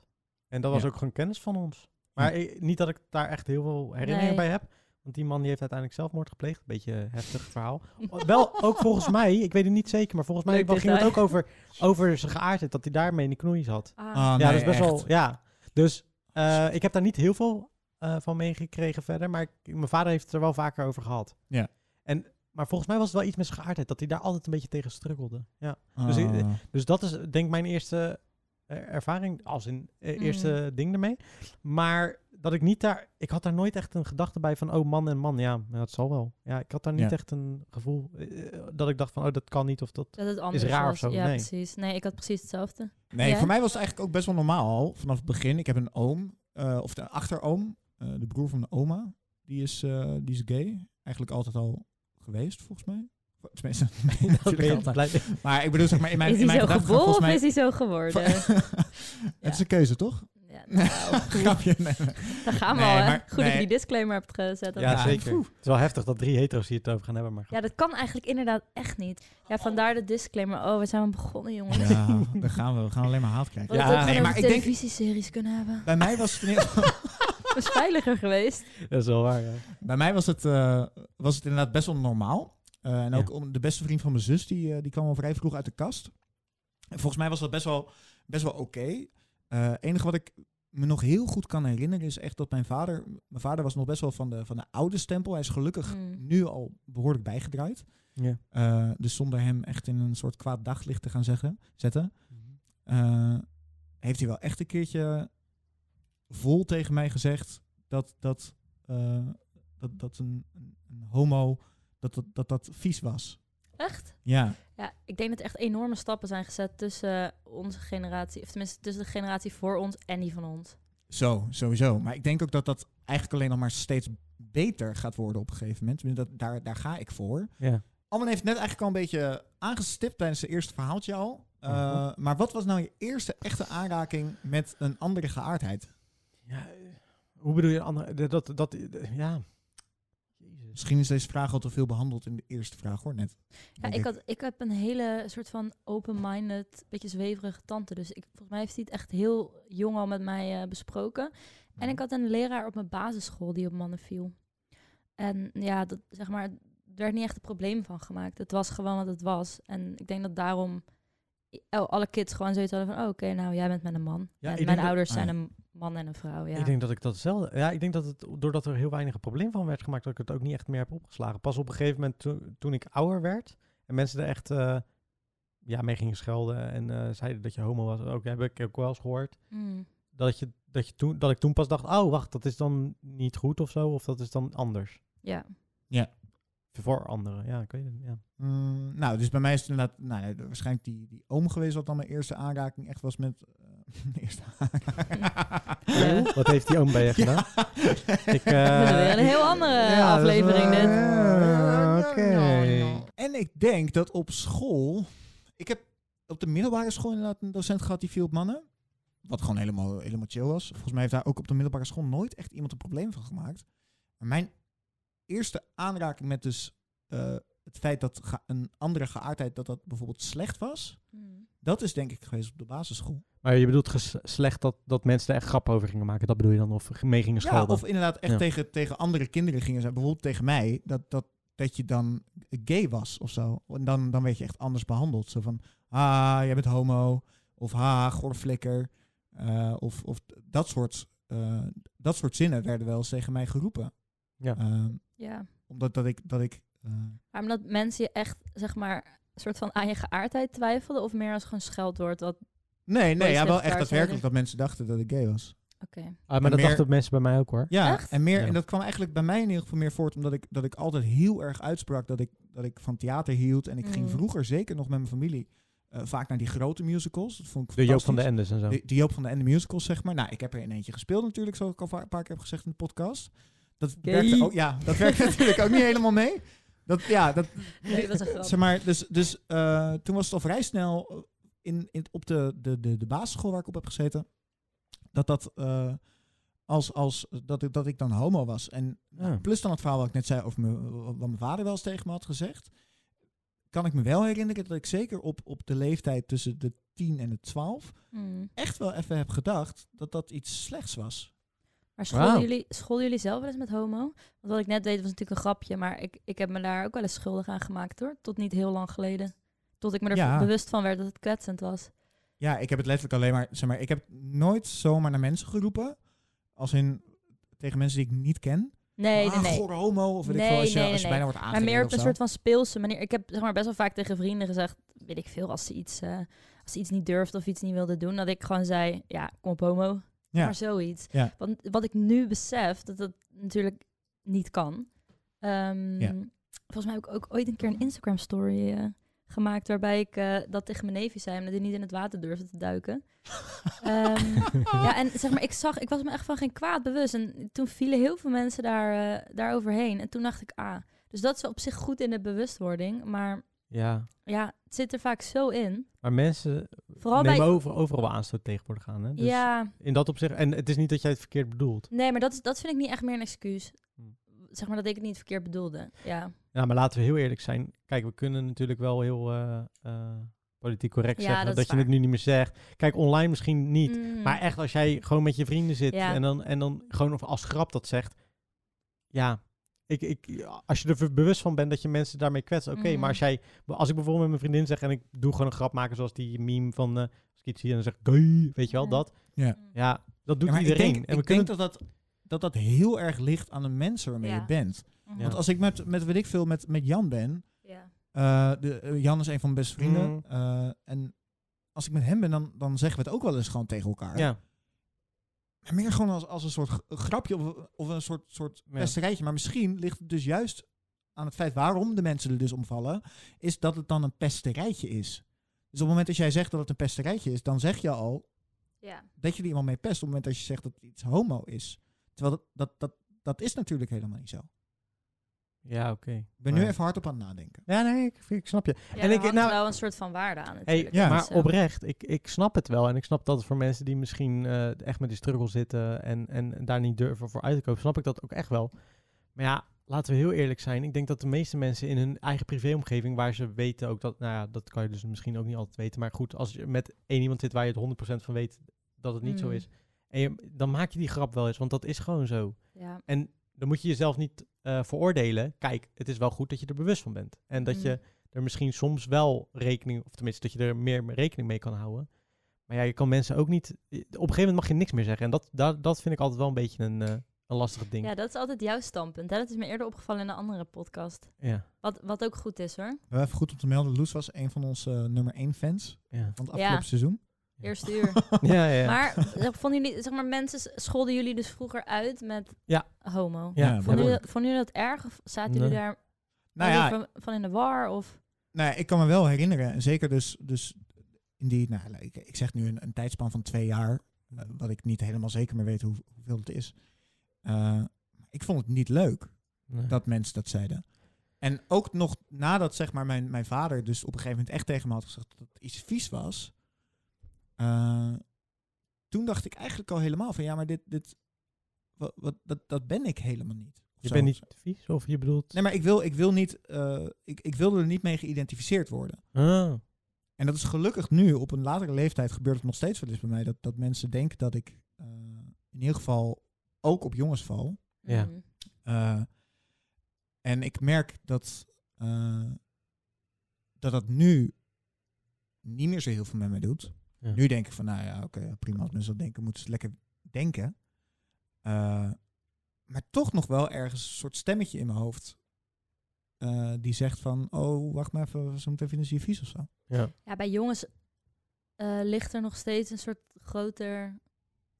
Speaker 6: En dat was
Speaker 1: Ja.
Speaker 6: ook gewoon kennis van ons. Maar ik- niet dat ik daar echt heel veel herinneringen
Speaker 2: Nee.
Speaker 6: bij heb. Want die man die heeft uiteindelijk zelfmoord gepleegd. Beetje heftig verhaal. Oh, Wel, ook volgens mij, ik weet het niet zeker, maar volgens mij
Speaker 2: Leuk
Speaker 6: ging het
Speaker 2: detail.
Speaker 6: ook over, over zijn geaardheid. Dat hij daarmee in de knoei zat.
Speaker 2: Ah,
Speaker 1: Ah,
Speaker 6: ja,
Speaker 1: nee,
Speaker 6: dat is best
Speaker 1: echt.
Speaker 6: wel. Ja. Dus eh, ik heb daar niet heel veel eh, van meegekregen verder. Maar ik, mijn vader heeft het er wel vaker over gehad.
Speaker 1: Ja.
Speaker 6: En, maar volgens mij was het wel iets met zijn geaardheid. Dat hij daar altijd een beetje tegen struggelde. Ja. Dus ik-
Speaker 1: Ah.
Speaker 6: Dus dat is denk ik mijn eerste eh, ervaring. Als in eh,
Speaker 2: Mm.
Speaker 6: eerste ding ermee. Maar dat ik niet daar... Ik had daar nooit echt een gedachte bij van... Oh, man en man. Ja, maar dat zal wel. Ja, ik had daar niet
Speaker 1: Ja.
Speaker 6: echt een gevoel... eh, dat ik dacht van... Oh, dat kan niet of dat...
Speaker 2: dat het anders
Speaker 6: raar of
Speaker 2: was.
Speaker 6: zo,
Speaker 2: Ja,
Speaker 6: nee.
Speaker 2: precies. Nee, ik had precies hetzelfde.
Speaker 1: Nee,
Speaker 2: Ja?
Speaker 1: voor mij was het eigenlijk ook best wel normaal al. Vanaf het begin. Ik heb een oom, eh, of de achteroom, eh, de broer van mijn oma. Die is, eh, die is gay. Eigenlijk altijd al geweest, volgens mij. Tenminste,
Speaker 6: dat
Speaker 1: natuurlijk altijd. Maar ik bedoel, zeg maar, in mijn,
Speaker 2: is
Speaker 1: in
Speaker 2: hij
Speaker 1: mijn
Speaker 2: zo
Speaker 1: gedachtegang
Speaker 2: geboren of
Speaker 1: volgens mij...
Speaker 2: is hij zo geworden?
Speaker 1: Het is een keuze, toch?
Speaker 2: Ja,
Speaker 1: Nee,
Speaker 2: nou,
Speaker 1: Grapje, nee, nee.
Speaker 2: daar gaan we
Speaker 1: Nee,
Speaker 2: al, hè?
Speaker 1: maar-
Speaker 2: Goed dat
Speaker 1: nee.
Speaker 2: je die disclaimer hebt gezet.
Speaker 6: Ja,
Speaker 2: Dat- Ja.
Speaker 6: zeker.
Speaker 1: poeh.
Speaker 6: Het is wel heftig dat drie hetero's hier het over gaan hebben. Maar goed.
Speaker 2: dat kan eigenlijk inderdaad echt niet. Ja, vandaar de disclaimer. Oh, we zijn maar begonnen, jongens. We
Speaker 1: Ja, daar gaan we. We gaan alleen maar haat krijgen.
Speaker 6: Ja,
Speaker 2: hadden het ook
Speaker 1: nee,
Speaker 2: gewoon
Speaker 1: maar
Speaker 2: over
Speaker 1: ik denk-
Speaker 2: televisieseries kunnen hebben.
Speaker 1: Bij mij was het, in ieder geval-
Speaker 2: Dat is veiliger geweest.
Speaker 6: Dat is wel waar, ja.
Speaker 1: bij mij was het, eh, was het inderdaad best wel normaal. Eh, en ook om, de beste vriend van mijn zus, die, eh, die kwam al vrij vroeg uit de kast. En volgens mij was dat best wel, best wel oké. Eh, Het enige wat ik me nog heel goed kan herinneren is echt dat mijn vader... Mijn vader was nog best wel van de, van de oude stempel. Hij is gelukkig
Speaker 2: Mm.
Speaker 1: nu al behoorlijk bijgedraaid.
Speaker 6: Ja.
Speaker 1: Eh, dus zonder hem echt in een soort kwaad daglicht te gaan zeggen, zetten... eh, heeft hij wel echt een keertje vol tegen mij gezegd dat, dat, eh, dat, dat een, een- een homo... Dat dat, dat dat vies was.
Speaker 2: Echt?
Speaker 1: Ja.
Speaker 2: Ja, ik denk dat echt enorme stappen zijn gezet tussen onze generatie, of tenminste tussen de generatie voor ons en die van ons.
Speaker 1: Zo, sowieso. Maar ik denk ook dat dat eigenlijk alleen nog maar steeds beter gaat worden op een gegeven moment. Tenminste, Dat, daar, daar ga ik voor.
Speaker 6: Ja.
Speaker 1: Alman heeft net eigenlijk al een beetje aangestipt tijdens het eerste verhaaltje al. Uh,
Speaker 6: Mhm.
Speaker 1: Maar wat was nou je eerste echte aanraking met een andere geaardheid?
Speaker 6: Ja, eh, hoe bedoel je een andere? Dat, dat, dat, ja. Jezus.
Speaker 1: Misschien is deze vraag al te veel behandeld in de eerste vraag hoor, net.
Speaker 2: Ja, ik, had, ik heb een hele soort van open-minded, beetje zweverige tante. Dus ik, volgens mij heeft hij het echt heel jong al met mij eh, besproken.
Speaker 6: Mhm.
Speaker 2: En ik had een leraar op mijn basisschool die op mannen viel. En ja, dat, zeg maar, er werd niet echt een probleem van gemaakt. Het was gewoon wat het was. En ik denk dat daarom i- el- alle kids gewoon zoiets hadden van... Oh, oké, nou, jij bent met een man.
Speaker 6: Ja, ik
Speaker 2: en
Speaker 6: denk
Speaker 2: mijn
Speaker 6: dat-
Speaker 2: ouders
Speaker 1: ah,
Speaker 2: zijn
Speaker 1: ja.
Speaker 2: een man en een vrouw, ja.
Speaker 6: Ik denk dat ik datzelfde. Ja, ik denk dat het doordat er heel weinig een probleem van werd gemaakt, dat ik het ook niet echt meer heb opgeslagen. Pas op een gegeven moment toen- toen ik ouder werd en mensen er echt eh, ja, mee gingen schelden en eh, zeiden dat je homo was. Ook heb ik ook wel eens gehoord.
Speaker 2: Mm.
Speaker 6: Dat, je, dat, je toen, dat ik toen pas dacht, oh wacht, dat is dan niet goed of zo, of dat is dan anders.
Speaker 2: Ja.
Speaker 6: Voor anderen, ja, ik weet het. Ja.
Speaker 1: Mm, nou, dus bij mij is het inderdaad nou, ja, waarschijnlijk die, die oom geweest wat dan mijn eerste aanraking echt was met... eh, mijn eerste aanraking.
Speaker 6: Wat heeft die oom bij je gedaan? Ik, eh,
Speaker 2: Dat is weer een heel andere
Speaker 6: Ja, dat is
Speaker 2: aflevering
Speaker 6: wel-
Speaker 2: dit.
Speaker 6: Ja, oké.
Speaker 1: En ik denk dat op school. Ik heb op de middelbare school inderdaad een docent gehad die viel op mannen. Wat gewoon helemaal, helemaal chill was. Volgens mij heeft daar ook op de middelbare school nooit echt iemand een probleem van gemaakt. Maar mijn eerste aanraking met dus eh, het feit dat ge- een andere geaardheid dat dat bijvoorbeeld slecht was.
Speaker 2: Mm.
Speaker 1: Dat is denk ik geweest op de basisschool.
Speaker 6: Maar je bedoelt ges- slecht dat, dat mensen er echt grap over gingen maken. Dat bedoel je dan? Of mee gingen
Speaker 1: Ja,
Speaker 6: schelden?
Speaker 1: of inderdaad echt
Speaker 6: Ja.
Speaker 1: tegen, tegen andere kinderen gingen zijn. Bijvoorbeeld tegen mij. Dat, dat, dat je dan gay was of zo. En dan, dan werd je echt anders behandeld. Zo van, ah, jij bent homo. Of ha, gorflikker. Eh, of of dat, soort, eh, dat soort zinnen werden wel eens tegen mij geroepen.
Speaker 6: Ja.
Speaker 1: Eh,
Speaker 2: Ja.
Speaker 1: omdat dat ik... Dat ik eh,
Speaker 2: Maar omdat mensen je echt, zeg maar, soort van aan je geaardheid twijfelden? Of meer als gewoon scheldwoord? Wat...
Speaker 1: nee, nee
Speaker 2: Boys
Speaker 1: ja,
Speaker 2: have
Speaker 1: wel echt
Speaker 2: cars
Speaker 1: daadwerkelijk
Speaker 2: only.
Speaker 1: dat mensen dachten dat ik gay was.
Speaker 2: Oké.
Speaker 6: Ah,
Speaker 1: En
Speaker 6: maar dat
Speaker 1: meer-
Speaker 6: dachten mensen bij mij ook hoor.
Speaker 1: Ja,
Speaker 2: Echt?
Speaker 1: en meer.
Speaker 6: Ja.
Speaker 1: En dat kwam eigenlijk bij mij in ieder geval meer voort, omdat ik, dat ik altijd heel erg uitsprak dat ik, dat ik van theater hield. En ik ging
Speaker 2: Mm.
Speaker 1: vroeger, zeker nog met mijn familie, eh, vaak naar die grote musicals. Dat vond ik
Speaker 6: De Joop van de
Speaker 1: fantastisch.
Speaker 6: Endes en zo.
Speaker 1: De, de Joop van de Ende musicals, zeg maar. Nou, ik heb er in eentje gespeeld natuurlijk, zoals ik al va- een paar keer heb gezegd in de podcast. Dat
Speaker 2: Gay.
Speaker 1: werkte ook, ja, dat werkte natuurlijk ook niet helemaal mee. Dat, ja, dat,
Speaker 2: Nee, dat is een grap.
Speaker 1: Zeg maar, dus, dus eh, toen was het al vrij snel eh, in, in, op de, de, de, de basisschool waar ik op heb gezeten, dat dat eh, als, als dat, ik- dat ik dan homo was. En
Speaker 6: Ja.
Speaker 1: plus dan het verhaal wat ik net zei over me, wat mijn vader wel eens tegen me had gezegd, kan ik me wel herinneren dat ik zeker op, op de leeftijd tussen de 10 en de 12
Speaker 2: Mm.
Speaker 1: echt wel even heb gedacht dat dat iets slechts was.
Speaker 2: Maar schoolden,
Speaker 6: Wauw.
Speaker 2: jullie, schoolden jullie zelf wel eens met homo? Want wat ik net deed was natuurlijk een grapje. Maar ik, ik heb me daar ook wel eens schuldig aan gemaakt hoor. Tot niet heel lang geleden. Tot ik me er
Speaker 1: Ja.
Speaker 2: bewust van werd dat het kwetsend was.
Speaker 1: Ja, ik heb het letterlijk alleen maar, zeg maar, ik heb nooit zomaar naar mensen geroepen, als in tegen mensen die ik niet ken.
Speaker 2: Nee, nee,
Speaker 1: ah,
Speaker 2: nee.
Speaker 1: gore homo. Of weet
Speaker 2: Nee,
Speaker 1: ik veel, als je,
Speaker 2: nee,
Speaker 1: als je
Speaker 2: nee,
Speaker 1: bijna wordt
Speaker 2: Maar
Speaker 1: aangezet.
Speaker 2: meer op een soort van speelse manier. Ik heb zeg maar best wel vaak tegen vrienden gezegd, weet ik veel, als ze iets, eh, als ze iets niet durfde of iets niet wilde doen, dat ik gewoon zei, ja, kom op homo.
Speaker 1: Ja.
Speaker 2: Maar zoiets.
Speaker 1: Ja.
Speaker 2: Want wat ik nu besef, dat dat natuurlijk niet kan. Ehm,
Speaker 1: Ja.
Speaker 2: Volgens mij heb ik ook ooit een keer een Instagram story eh, gemaakt waarbij ik eh, dat tegen mijn neefje zei, omdat hij niet in het water durfde te duiken. Ehm, ja, en zeg maar, ik zag, ik was me echt van geen kwaad bewust. En toen vielen heel veel mensen daar, eh daar overheen. En toen dacht ik, ah, dus dat is wel op zich goed in de bewustwording. Maar
Speaker 6: Ja.
Speaker 2: ja, het zit er vaak zo in.
Speaker 6: Maar mensen
Speaker 2: Vooral
Speaker 6: nemen
Speaker 2: bij...
Speaker 6: over, overal wel aanstoot tegenwoordig aan. Hè? Dus
Speaker 2: Ja,
Speaker 6: In dat opzicht. En het is niet dat jij het verkeerd bedoelt.
Speaker 2: nee, maar dat, is, dat vind ik niet echt meer een excuus.
Speaker 6: Hm.
Speaker 2: Zeg maar dat ik het niet verkeerd bedoelde. Ja,
Speaker 6: Ja, maar laten we heel eerlijk zijn. Kijk, we kunnen natuurlijk wel heel eh, eh, politiek correct
Speaker 2: Ja,
Speaker 6: zeggen.
Speaker 2: dat
Speaker 6: Dat,
Speaker 2: is
Speaker 6: je het
Speaker 2: waar.
Speaker 6: nu niet meer zegt. Kijk, online misschien niet.
Speaker 2: Mm.
Speaker 6: Maar echt, als jij gewoon met je vrienden zit
Speaker 2: Ja.
Speaker 6: en, dan, en dan gewoon of als grap dat zegt. Ja, ik, ik, als je er v- bewust van bent dat je mensen daarmee kwetst, oké.
Speaker 2: Mm.
Speaker 6: Maar als, jij, als ik bijvoorbeeld met mijn vriendin zeg en ik
Speaker 2: Mm-hmm.
Speaker 6: doe gewoon een grap maken zoals die meme van... eh als ik iets zie en dan zeg ik, "Gay", weet je wel,
Speaker 2: Ja.
Speaker 6: dat.
Speaker 1: Ja.
Speaker 6: Ja, Dat doet
Speaker 1: Ja, maar ik
Speaker 6: iedereen.
Speaker 1: denk,
Speaker 6: en we
Speaker 1: ik
Speaker 6: kunnen
Speaker 1: denk dat, dat, dat dat heel erg ligt aan de mensen waarmee
Speaker 2: Ja.
Speaker 1: je bent.
Speaker 2: Mhm.
Speaker 6: Ja.
Speaker 1: Want als ik met, met weet ik veel, met, met Jan ben,
Speaker 2: Ja.
Speaker 1: Eh, de, eh, Jan is een van mijn beste vrienden.
Speaker 6: Mm.
Speaker 1: Eh, en als ik met hem ben, dan, dan zeggen we het ook wel eens gewoon tegen elkaar.
Speaker 6: ja,
Speaker 1: Maar meer gewoon als, als een soort g- grapje of, of een soort, soort
Speaker 6: Ja.
Speaker 1: pesterijtje. Maar misschien ligt het dus juist aan het feit waarom de mensen er dus omvallen, is dat het dan een pesterijtje is. Dus op het moment dat jij zegt dat het een pesterijtje is, dan zeg je al
Speaker 2: Ja.
Speaker 1: dat je er iemand mee pest. Op het moment dat je zegt dat iets homo is. Terwijl dat, dat, dat, dat is natuurlijk helemaal niet zo.
Speaker 6: ja oké.
Speaker 1: Ik ben
Speaker 6: Maar-
Speaker 1: nu even hard op aan het nadenken.
Speaker 6: Ja, nee, ik, ik snap je.
Speaker 2: Ja,
Speaker 6: En
Speaker 2: en
Speaker 6: ik-
Speaker 2: ik
Speaker 6: nou-
Speaker 2: wel een soort van waarde aan
Speaker 6: Hey,
Speaker 2: natuurlijk.
Speaker 1: Ja.
Speaker 6: Maar
Speaker 2: Dus, eh,
Speaker 6: oprecht, ik, ik snap het wel. En ik snap dat het voor mensen die misschien eh, echt met die struggle zitten en, en daar niet durven voor uit te kopen, snap ik dat ook echt wel. Maar ja, laten we heel eerlijk zijn. Ik denk dat de meeste mensen in hun eigen privéomgeving, waar ze weten ook dat, nou ja, dat kan je dus misschien ook niet altijd weten. Maar goed, als je met één iemand zit waar je het 100% van weet dat het niet zo
Speaker 2: Mm.
Speaker 6: is, en je, dan maak je die grap wel eens, want dat is gewoon zo.
Speaker 2: ja.
Speaker 6: En dan moet je jezelf niet eh, veroordelen. Kijk, het is wel goed dat je er bewust van bent. En dat
Speaker 2: Mhm.
Speaker 6: je er misschien soms wel rekening, of tenminste dat je er meer mee rekening mee kan houden. Maar ja, je kan mensen ook niet. eh, Op een gegeven moment mag je niks meer zeggen. En dat, dat, dat vind ik altijd wel een beetje een, eh, een lastig ding.
Speaker 2: ja, dat is altijd jouw standpunt. Hè? Dat is me eerder opgevallen in een andere podcast.
Speaker 6: Ja,
Speaker 2: Wat, wat ook goed is hoor.
Speaker 1: Wel Even goed om te melden, Loes was een van onze eh, nummer 1 fans
Speaker 6: ja.
Speaker 1: van het
Speaker 2: Ja.
Speaker 1: afgelopen seizoen.
Speaker 2: Eerste uur.
Speaker 6: ja, ja.
Speaker 2: Maar eh, vonden jullie, zeg maar, mensen s- scholden jullie dus vroegen uit met
Speaker 6: Ja.
Speaker 2: homo.
Speaker 6: ja,
Speaker 1: Ja,
Speaker 2: Vonden
Speaker 1: maar-
Speaker 2: jullie, vonden jullie dat erg of zaten
Speaker 6: Nee.
Speaker 2: jullie daar
Speaker 1: Nou ja,
Speaker 2: van, van in de war? Of,
Speaker 1: Nou, ja, ik kan me wel herinneren, en zeker dus, dus in die, nou, ik, ik zeg nu een, een tijdspan van twee jaar, eh, wat ik niet helemaal zeker meer weet hoe, hoeveel het is. Eh, ik vond het niet leuk
Speaker 6: Nee.
Speaker 1: dat mensen dat zeiden. En ook nog nadat zeg maar, mijn, mijn vader dus op een gegeven moment echt tegen me had gezegd dat het iets vies was. eh, toen dacht ik eigenlijk al helemaal van ja, maar dit, dit wat, wat, dat, dat ben ik helemaal niet. Of
Speaker 6: je
Speaker 1: zo.
Speaker 6: bent niet vies of je bedoelt.
Speaker 1: Nee, maar ik wil, ik wil niet, eh, ik, ik wil er niet mee geïdentificeerd worden.
Speaker 6: Ah,
Speaker 1: En dat is gelukkig nu, op een latere leeftijd gebeurt het nog steeds wel eens bij mij, dat, dat mensen denken dat ik eh, in ieder geval ook op jongens val.
Speaker 6: Ja.
Speaker 2: Mm.
Speaker 1: Eh, en ik merk dat, eh, dat dat nu niet meer zo heel veel met mij doet.
Speaker 6: Ja.
Speaker 1: Nu denk ik van, nou ja, oké, prima, als mensen dat denken, moeten ze lekker denken. Eh, maar toch nog wel ergens een soort stemmetje in mijn hoofd. eh, die zegt van, oh, wacht maar even, zo meteen vinden ze je vies of zo.
Speaker 6: ja.
Speaker 2: ja, bij jongens eh, ligt er nog steeds een soort groter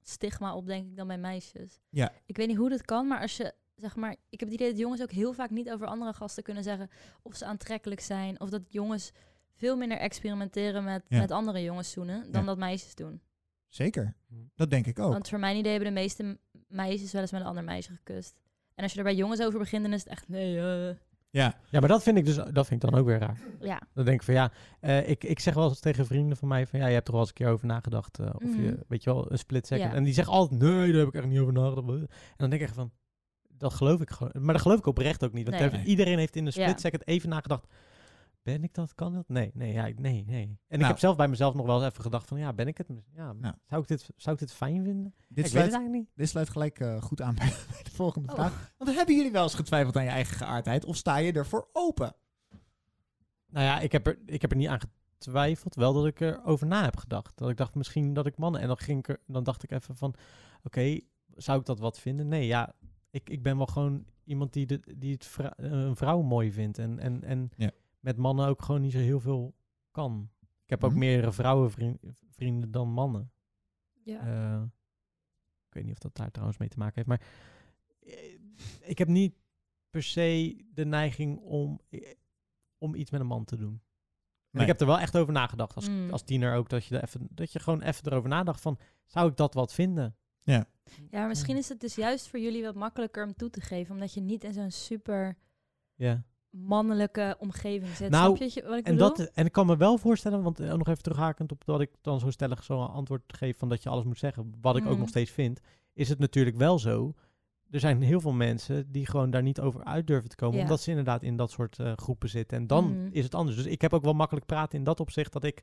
Speaker 2: stigma op, denk ik, dan bij meisjes.
Speaker 1: Ja.
Speaker 2: Ik weet niet hoe dat kan, maar als je, zeg maar, ik heb het idee dat jongens ook heel vaak niet over andere gasten kunnen zeggen of ze aantrekkelijk zijn. Of dat jongens veel minder experimenteren met,
Speaker 1: Ja.
Speaker 2: met andere jongens zoenen dan
Speaker 1: Ja.
Speaker 2: dat meisjes doen.
Speaker 1: Zeker.
Speaker 6: Hm.
Speaker 1: Dat denk ik ook.
Speaker 2: Want voor mijn idee hebben de meeste m- meisjes wel eens met een ander meisje gekust. En als je er bij jongens over begint, dan is het echt nee. eh.
Speaker 1: ja.
Speaker 6: ja, maar dat vind ik dus dat vind ik dan ook weer raar.
Speaker 2: Ja,
Speaker 6: Dan denk ik van ja, eh, ik, ik zeg wel eens tegen vrienden van mij van ja, je hebt er wel eens een keer over nagedacht. eh, of
Speaker 2: Mhm.
Speaker 6: je, weet je wel, een split second.
Speaker 2: Ja.
Speaker 6: En die zeggen altijd nee, daar heb ik echt niet over nagedacht. En dan denk ik echt van, dat geloof ik gewoon. Maar dat geloof ik oprecht ook niet. Want
Speaker 2: Nee.
Speaker 6: even- iedereen heeft in een split
Speaker 2: Ja.
Speaker 6: second even nagedacht. Ben ik dat? Kan dat? Nee, nee, ja, ik- nee, nee. En ik
Speaker 1: Nou.
Speaker 6: heb zelf bij mezelf nog wel eens even gedacht van ja, ben ik het? Ja,
Speaker 1: Nou.
Speaker 6: zou, ik dit, zou ik dit fijn vinden?
Speaker 1: Dit
Speaker 6: ik weet het
Speaker 1: sluit,
Speaker 6: eigenlijk niet.
Speaker 1: dit sluit gelijk eh, goed aan bij bij de volgende
Speaker 2: Oh.
Speaker 1: vraag. Want hebben jullie wel eens getwijfeld aan je eigen geaardheid? Of sta je ervoor open?
Speaker 6: Nou ja, ik heb er, ik heb er niet aan getwijfeld. Wel dat ik erover na heb gedacht. Dat ik dacht misschien dat ik mannen. En dan, ging ik er, dan dacht ik even van: oké, zou ik dat wat vinden? Nee, ja, ik, ik ben wel gewoon iemand die, de, die het vrou- eh, een vrouw mooi vindt. En, en, en
Speaker 1: Ja.
Speaker 6: met mannen ook gewoon niet zo heel veel kan. Ik heb ook
Speaker 1: Mhm.
Speaker 6: meerdere vrouwenvrienden vrienden dan mannen.
Speaker 2: ja.
Speaker 6: Eh, ik weet niet of dat daar trouwens mee te maken heeft. Maar eh, ik heb niet per se de neiging om, eh, om iets met een man te doen. En
Speaker 1: Nee.
Speaker 6: Ik heb er wel echt over nagedacht als,
Speaker 2: Mm.
Speaker 6: als tiener ook. Dat je, er even, dat je gewoon even erover nadacht van, zou ik dat wat vinden?
Speaker 2: Ja, maar misschien is het dus juist voor jullie wat makkelijker om toe te geven, omdat je niet in zo'n super
Speaker 6: Ja.
Speaker 2: mannelijke omgeving zit.
Speaker 6: Nou,
Speaker 2: Snap je wat je- wat ik
Speaker 6: En,
Speaker 2: bedoel?
Speaker 6: dat, en ik kan me wel voorstellen, want eh, nog even terughakend op dat ik dan zo stellig zo'n antwoord geef van dat je alles moet zeggen, wat ik ook
Speaker 2: Mhm.
Speaker 6: nog steeds vind, is het natuurlijk wel zo. Er zijn heel veel mensen die gewoon daar niet over uit durven te komen,
Speaker 2: Ja.
Speaker 6: omdat ze inderdaad in dat soort eh, groepen zitten. En dan
Speaker 2: Mhm.
Speaker 6: is het anders. Dus ik heb ook wel makkelijk praten in dat opzicht dat ik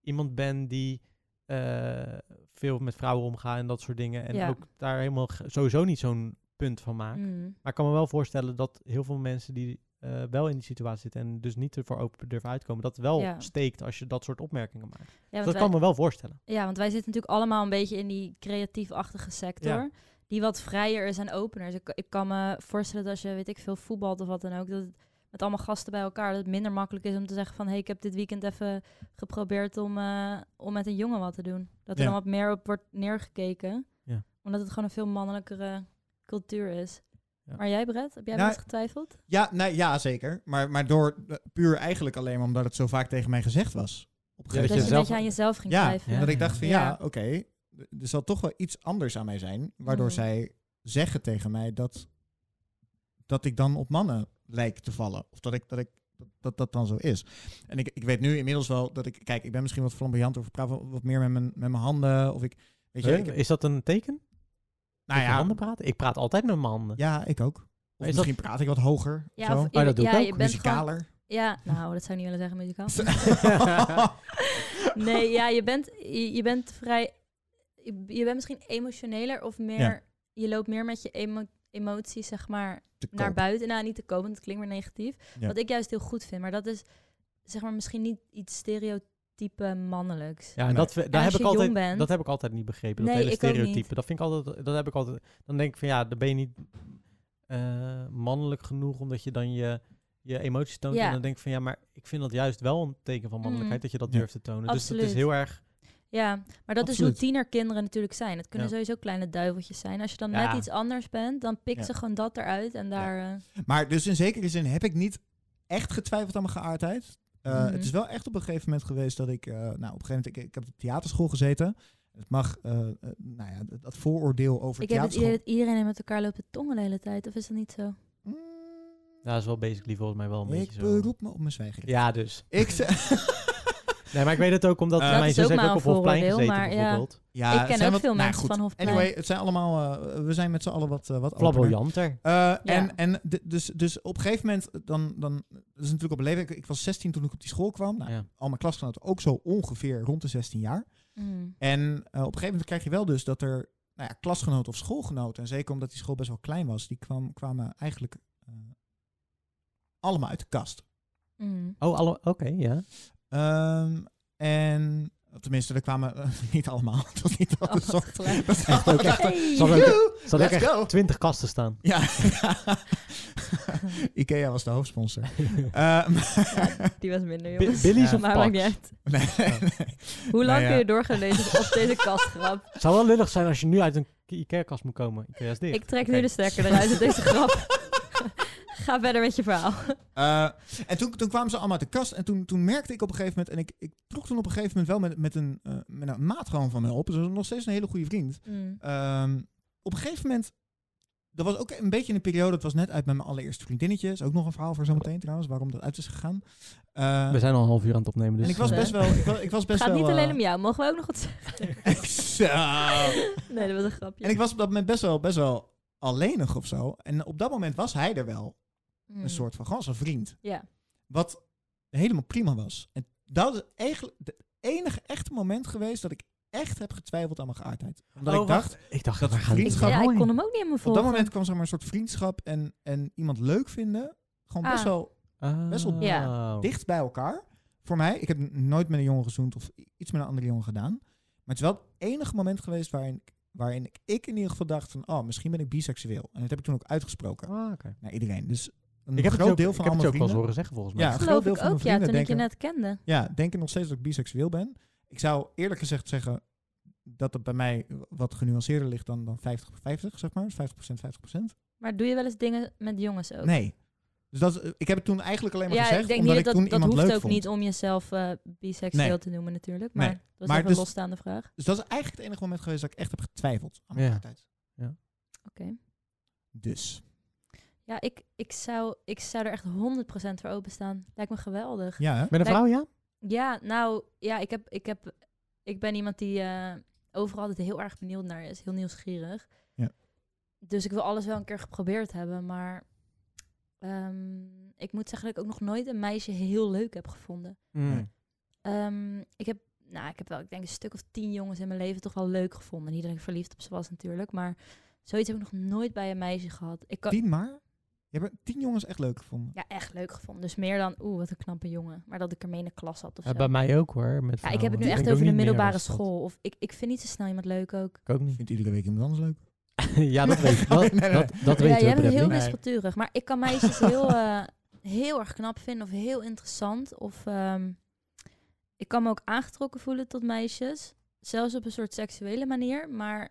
Speaker 6: iemand ben die eh, veel met vrouwen omgaat en dat soort dingen. En
Speaker 2: Ja.
Speaker 6: ook daar helemaal ge- sowieso niet zo'n punt van maakt.
Speaker 2: Mm.
Speaker 6: Maar ik kan me wel voorstellen dat heel veel mensen die eh, eh, wel in die situatie zitten en dus niet ervoor open durven uitkomen, dat wel
Speaker 2: Ja.
Speaker 6: steekt als je dat soort opmerkingen maakt.
Speaker 2: Ja, want
Speaker 6: dat
Speaker 2: wij-
Speaker 6: kan me wel voorstellen.
Speaker 2: Ja, want wij zitten natuurlijk allemaal een beetje in die creatiefachtige sector.
Speaker 6: Ja.
Speaker 2: Die wat vrijer is en opener. Dus ik, ik kan me voorstellen dat als je, weet ik veel, voetbalt of wat dan ook. Dat het met allemaal gasten bij elkaar. Dat het minder makkelijk is om te zeggen van... Hé, hey, ik heb dit weekend even geprobeerd om, eh, om met een jongen wat te doen. Dat er
Speaker 6: Ja.
Speaker 2: dan wat meer op wordt neergekeken.
Speaker 6: Ja.
Speaker 2: Omdat het gewoon een veel mannelijkere cultuur is.
Speaker 6: Ja.
Speaker 2: Maar jij, Brett, heb jij
Speaker 1: Nou,
Speaker 2: wel eens getwijfeld?
Speaker 1: Ja, nee, ja zeker. Maar, maar door eh, puur eigenlijk alleen maar omdat het zo vaak tegen mij gezegd was. Op een
Speaker 3: Ja,
Speaker 2: Dat,
Speaker 1: gegeven
Speaker 2: je
Speaker 1: moment.
Speaker 2: een
Speaker 3: zelf-
Speaker 2: beetje aan jezelf ging
Speaker 1: Ja,
Speaker 2: twijfelen.
Speaker 1: Dat ik dacht van ja,
Speaker 2: Ja.
Speaker 1: oké, d- er zal toch wel iets anders aan mij zijn. Waardoor
Speaker 2: Mhm.
Speaker 1: zij zeggen tegen mij dat, dat ik dan op mannen lijk te vallen. Of dat ik, dat, ik, dat, dat dan zo is. En ik, ik weet nu inmiddels wel dat ik, kijk, ik ben misschien wat flamboyant of ik praat wat wat meer met mijn, met mijn handen. Of ik, weet je,
Speaker 6: Huh?
Speaker 1: ik,
Speaker 6: is dat een teken?
Speaker 1: nou
Speaker 6: Met je handen
Speaker 1: ja,
Speaker 6: praten? Ik praat altijd met mijn handen.
Speaker 1: ja, ik ook. Of
Speaker 6: Is dat-
Speaker 1: misschien praat ik wat hoger. of
Speaker 2: Ja,
Speaker 1: zo.
Speaker 2: of,
Speaker 6: Oh, dat doe ik
Speaker 2: ja,
Speaker 6: ook.
Speaker 2: Je bent gewoon-
Speaker 1: Muzikaler.
Speaker 2: Ja, nou, dat zou ik niet willen zeggen, muzikaal. Nee, ja, je bent, je, je bent vrij. Je, je bent misschien emotioneler of meer.
Speaker 1: Ja.
Speaker 2: Je loopt meer met je emo- emoties, zeg maar,
Speaker 1: Te
Speaker 2: naar
Speaker 1: koop.
Speaker 2: buiten. Nou, niet te komen, want het klinkt weer negatief.
Speaker 1: Ja.
Speaker 2: Wat ik juist heel goed vind, maar dat is, zeg maar, misschien niet iets stereotype mannelijks.
Speaker 6: Ja, en
Speaker 1: Nee.
Speaker 6: dat, we-
Speaker 2: als
Speaker 6: daar heb ik
Speaker 2: je jong
Speaker 6: altijd,
Speaker 2: bent-
Speaker 6: dat heb ik altijd niet begrepen. Dat
Speaker 2: Nee,
Speaker 6: hele
Speaker 2: ik ook niet.
Speaker 6: stereotype. Dat vind ik altijd, dat heb ik altijd. Dan denk ik van ja, dan ben je niet eh, mannelijk genoeg omdat je dan je, je emoties toont.
Speaker 2: Ja.
Speaker 6: En dan denk ik van ja, maar ik vind dat juist wel een teken van mannelijkheid
Speaker 2: Mm.
Speaker 6: dat je dat
Speaker 1: Ja.
Speaker 6: durft te tonen. Dus
Speaker 2: Absoluut.
Speaker 6: dat is heel erg.
Speaker 2: Ja, maar dat is
Speaker 1: Absoluut.
Speaker 2: hoe tienerkinderen natuurlijk zijn. Het kunnen
Speaker 6: Ja.
Speaker 2: sowieso kleine duiveltjes zijn. Als je dan
Speaker 6: Ja.
Speaker 2: net iets anders bent, dan pikt
Speaker 1: Ja.
Speaker 2: ze gewoon dat eruit en daar... eh,
Speaker 1: Maar dus in zekere zin heb ik niet echt getwijfeld aan mijn geaardheid. Uh,
Speaker 2: Mhm.
Speaker 1: Het is wel echt op een gegeven moment geweest dat ik... eh, nou, op een gegeven moment, ik, ik heb op theaterschool gezeten. Het mag, eh, eh, nou ja, dat- dat vooroordeel over
Speaker 2: ik heb het
Speaker 1: theaterschool...
Speaker 2: idee dat iedereen met elkaar loopt te tongen de hele tijd. Of is dat niet zo?
Speaker 6: Ja, dat is wel basically volgens mij wel een
Speaker 1: Mm, ik
Speaker 6: beetje zo.
Speaker 1: beroep me op mijn zwijger.
Speaker 6: Ja, dus.
Speaker 1: Ik ze-
Speaker 6: Nee, maar ik weet het ook omdat
Speaker 1: Eh,
Speaker 2: Dat
Speaker 6: mijn
Speaker 2: is
Speaker 6: zus
Speaker 2: ook
Speaker 6: heeft
Speaker 2: maar
Speaker 6: ook op
Speaker 2: een
Speaker 6: Hofplein
Speaker 2: vooroordeel,
Speaker 6: gezeten
Speaker 2: maar ja.
Speaker 6: bijvoorbeeld.
Speaker 1: ja,
Speaker 2: Ik
Speaker 1: het
Speaker 2: ken
Speaker 1: zijn
Speaker 2: ook
Speaker 1: wat-
Speaker 2: veel
Speaker 1: nou,
Speaker 2: mensen
Speaker 1: goed.
Speaker 2: van Hofplein.
Speaker 1: Anyway, het zijn allemaal... eh, we zijn met z'n allen wat, eh, wat opener.
Speaker 6: Flamboyanter.
Speaker 1: Eh, En, en d- dus, dus op een gegeven moment, dan, dan, dat is natuurlijk op een leeftijd, ik, ik was 16 toen ik op die school kwam. Nou,
Speaker 6: Ja.
Speaker 1: Al mijn klasgenoten ook zo ongeveer rond de 16 jaar.
Speaker 2: Mm.
Speaker 1: En eh, op een gegeven moment krijg je wel dus dat er nou ja, klasgenoten of schoolgenoten, en zeker omdat die school best wel klein was, die kwam, kwamen eigenlijk eh, allemaal uit de kast.
Speaker 2: Mm.
Speaker 6: Oh, alle- oké, ja.
Speaker 1: Ehm, en tenminste, er kwamen eh, niet allemaal. Dat was niet
Speaker 2: Oh,
Speaker 1: altijd zo.
Speaker 2: wat gelijk.
Speaker 1: Dat was
Speaker 6: Echt ook echt-
Speaker 2: Hey.
Speaker 6: Zal ik- Zal ik
Speaker 1: Let's
Speaker 6: echt
Speaker 1: go.
Speaker 6: 20 kasten staan?
Speaker 1: Ja, Ikea was de hoofdsponsor. Eh, maar-
Speaker 2: Die was minder,
Speaker 6: Bi-
Speaker 2: jongens.
Speaker 6: Billy's of
Speaker 2: maar maakt niet
Speaker 6: Pax?
Speaker 2: uit.
Speaker 1: nee, nee.
Speaker 2: Hoe lang
Speaker 1: Nou ja.
Speaker 2: kun je doorgaan deze, op deze kastgrap?
Speaker 6: Het zou wel lullig zijn als je nu uit een IKEA-kast moet komen. IKEA is dicht.
Speaker 2: Ik trek
Speaker 6: Oké.
Speaker 2: nu de stekker eruit uit deze grap. Ga verder met je verhaal.
Speaker 1: Eh, en toen, toen kwamen ze allemaal uit de kast. En toen, toen merkte ik op een gegeven moment. En ik, ik trok toen op een gegeven moment wel met, met, een, eh, met een maat gewoon van me op. Dus dat was nog steeds een hele goede vriend. Ehm, op een gegeven moment. Dat was ook een beetje een periode. Het was net uit met mijn allereerste vriendinnetje. Is ook nog een verhaal voor zometeen trouwens. Waarom dat uit is gegaan. Eh,
Speaker 6: We zijn al een half uur aan het opnemen, dus...
Speaker 1: en ik was
Speaker 6: eh,
Speaker 1: best wel. Ik was, ik was
Speaker 2: Het
Speaker 1: best
Speaker 2: gaat
Speaker 1: wel.
Speaker 2: niet
Speaker 1: eh,
Speaker 2: alleen om jou. Mogen we ook nog wat zeggen?
Speaker 1: Zo.
Speaker 2: Nee, dat was een grapje.
Speaker 1: Oh. En ik was op dat moment best wel, best wel alleenig of zo. En op dat moment was hij er wel.
Speaker 2: Mm.
Speaker 1: Een soort van. Gewoon als een vriend.
Speaker 2: Ja.
Speaker 1: Wat helemaal prima was. En dat is eigenlijk het enige echte moment geweest dat ik echt heb getwijfeld aan mijn geaardheid. Omdat
Speaker 6: Oh,
Speaker 1: ik
Speaker 6: wacht.
Speaker 1: dacht,
Speaker 6: Ik dacht,
Speaker 1: dat
Speaker 6: waar gaat
Speaker 2: Ik,
Speaker 1: vriend-
Speaker 6: dit
Speaker 1: Schat,
Speaker 2: ja, ik
Speaker 6: heen?
Speaker 2: kon hem ook niet helemaal
Speaker 1: op
Speaker 2: volgen.
Speaker 1: dat moment kwam zeg maar een soort vriendschap en, en iemand leuk vinden. Gewoon best
Speaker 2: Ah.
Speaker 1: wel
Speaker 6: Oh.
Speaker 1: best wel
Speaker 6: Ja.
Speaker 1: dicht bij elkaar. Voor mij, ik heb n- nooit met een jongen gezoend of i- iets met een andere jongen gedaan. Maar het is wel het enige moment geweest waarin, ik- waarin ik- ik in ieder geval dacht van, oh, misschien ben ik biseksueel. En dat heb ik toen ook
Speaker 2: Oh.
Speaker 1: uitgesproken
Speaker 6: Ah, oké.
Speaker 1: naar iedereen. Dus een
Speaker 6: Ik heb het je
Speaker 1: groot
Speaker 6: ook,
Speaker 1: deel
Speaker 6: ik
Speaker 1: van
Speaker 6: heb het je
Speaker 1: allemaal
Speaker 6: ook wel
Speaker 1: vrienden.
Speaker 6: eens horen zeggen, volgens mij.
Speaker 1: Ja, een groot
Speaker 2: geloof
Speaker 1: deel
Speaker 2: ik
Speaker 1: van
Speaker 2: ook,
Speaker 1: mijn
Speaker 2: ja,
Speaker 1: vrienden
Speaker 2: toen ik je
Speaker 1: denken
Speaker 2: net kende.
Speaker 1: Ja, denken nog steeds dat ik biseksueel ben. Ik zou eerlijk gezegd zeggen dat het bij mij wat genuanceerder ligt dan, dan 50-50, zeg maar. 50%, 50%.
Speaker 2: Maar doe je wel eens dingen met jongens ook?
Speaker 1: Nee. Dus dat, is- ik heb het toen eigenlijk alleen maar
Speaker 2: Ja,
Speaker 1: gezegd
Speaker 2: ik denk
Speaker 1: omdat
Speaker 2: niet
Speaker 1: ik
Speaker 2: dat
Speaker 1: toen
Speaker 2: dat,
Speaker 1: iemand
Speaker 2: hoeft
Speaker 1: leuk
Speaker 2: ook
Speaker 1: vond.
Speaker 2: niet om jezelf eh, biseksueel
Speaker 1: Nee.
Speaker 2: te noemen natuurlijk. Maar
Speaker 1: Nee.
Speaker 2: dat was
Speaker 1: Maar
Speaker 2: even
Speaker 1: dus-
Speaker 2: een losstaande vraag.
Speaker 1: Dus dat is eigenlijk het enige moment geweest dat ik echt heb getwijfeld aan mijn
Speaker 6: Ja.
Speaker 1: hardheid.
Speaker 6: Ja.
Speaker 2: Oké.
Speaker 1: Dus.
Speaker 2: Ja, ik, ik, zou, ik zou er echt 100% voor openstaan. Lijkt me geweldig.
Speaker 1: Ja, hè?
Speaker 6: Met een
Speaker 2: Lijkt-
Speaker 6: vrouw, ja?
Speaker 2: Ja, nou, ja, ik, heb, ik, heb, ik ben iemand die eh, overal altijd heel erg benieuwd naar is. Heel nieuwsgierig.
Speaker 1: Ja.
Speaker 2: Dus ik wil alles wel een keer geprobeerd hebben. Maar ehm, ik moet zeggen dat ik ook nog nooit een meisje heel leuk heb gevonden.
Speaker 1: Nee.
Speaker 2: Ehm, ik heb, nou, ik heb wel, ik denk een stuk of tien jongens in mijn leven toch wel leuk gevonden. Niet dat ik verliefd op ze was natuurlijk, maar zoiets heb ik nog nooit bij een meisje gehad. Ik kan,
Speaker 1: Tien maar? Je hebt er tien jongens echt leuk gevonden.
Speaker 2: Ja, echt leuk gevonden. Dus meer dan, oeh, wat een knappe jongen. Maar dat ik ermee in de klas zat of zo.
Speaker 6: Ja, bij mij ook hoor. Met
Speaker 2: Ja, ik heb het
Speaker 6: vrouwen.
Speaker 2: nu echt
Speaker 6: denk ook
Speaker 2: over de
Speaker 6: niet meer
Speaker 2: middelbare
Speaker 6: was dat.
Speaker 2: school. Of ik, ik vind niet zo snel iemand leuk ook.
Speaker 6: Ik ook niet.
Speaker 1: Vindt iedere week iemand anders leuk?
Speaker 6: ja, dat weet ik. Dat,
Speaker 1: Nee, nee, nee.
Speaker 6: dat, dat
Speaker 2: ja,
Speaker 6: weten
Speaker 2: jij
Speaker 6: we
Speaker 2: bent heel
Speaker 6: Bradley.
Speaker 2: wispelturig. Maar ik kan meisjes heel, eh, heel erg knap vinden of heel interessant. Of ehm, ik kan me ook aangetrokken voelen tot meisjes. Zelfs op een soort seksuele manier. Maar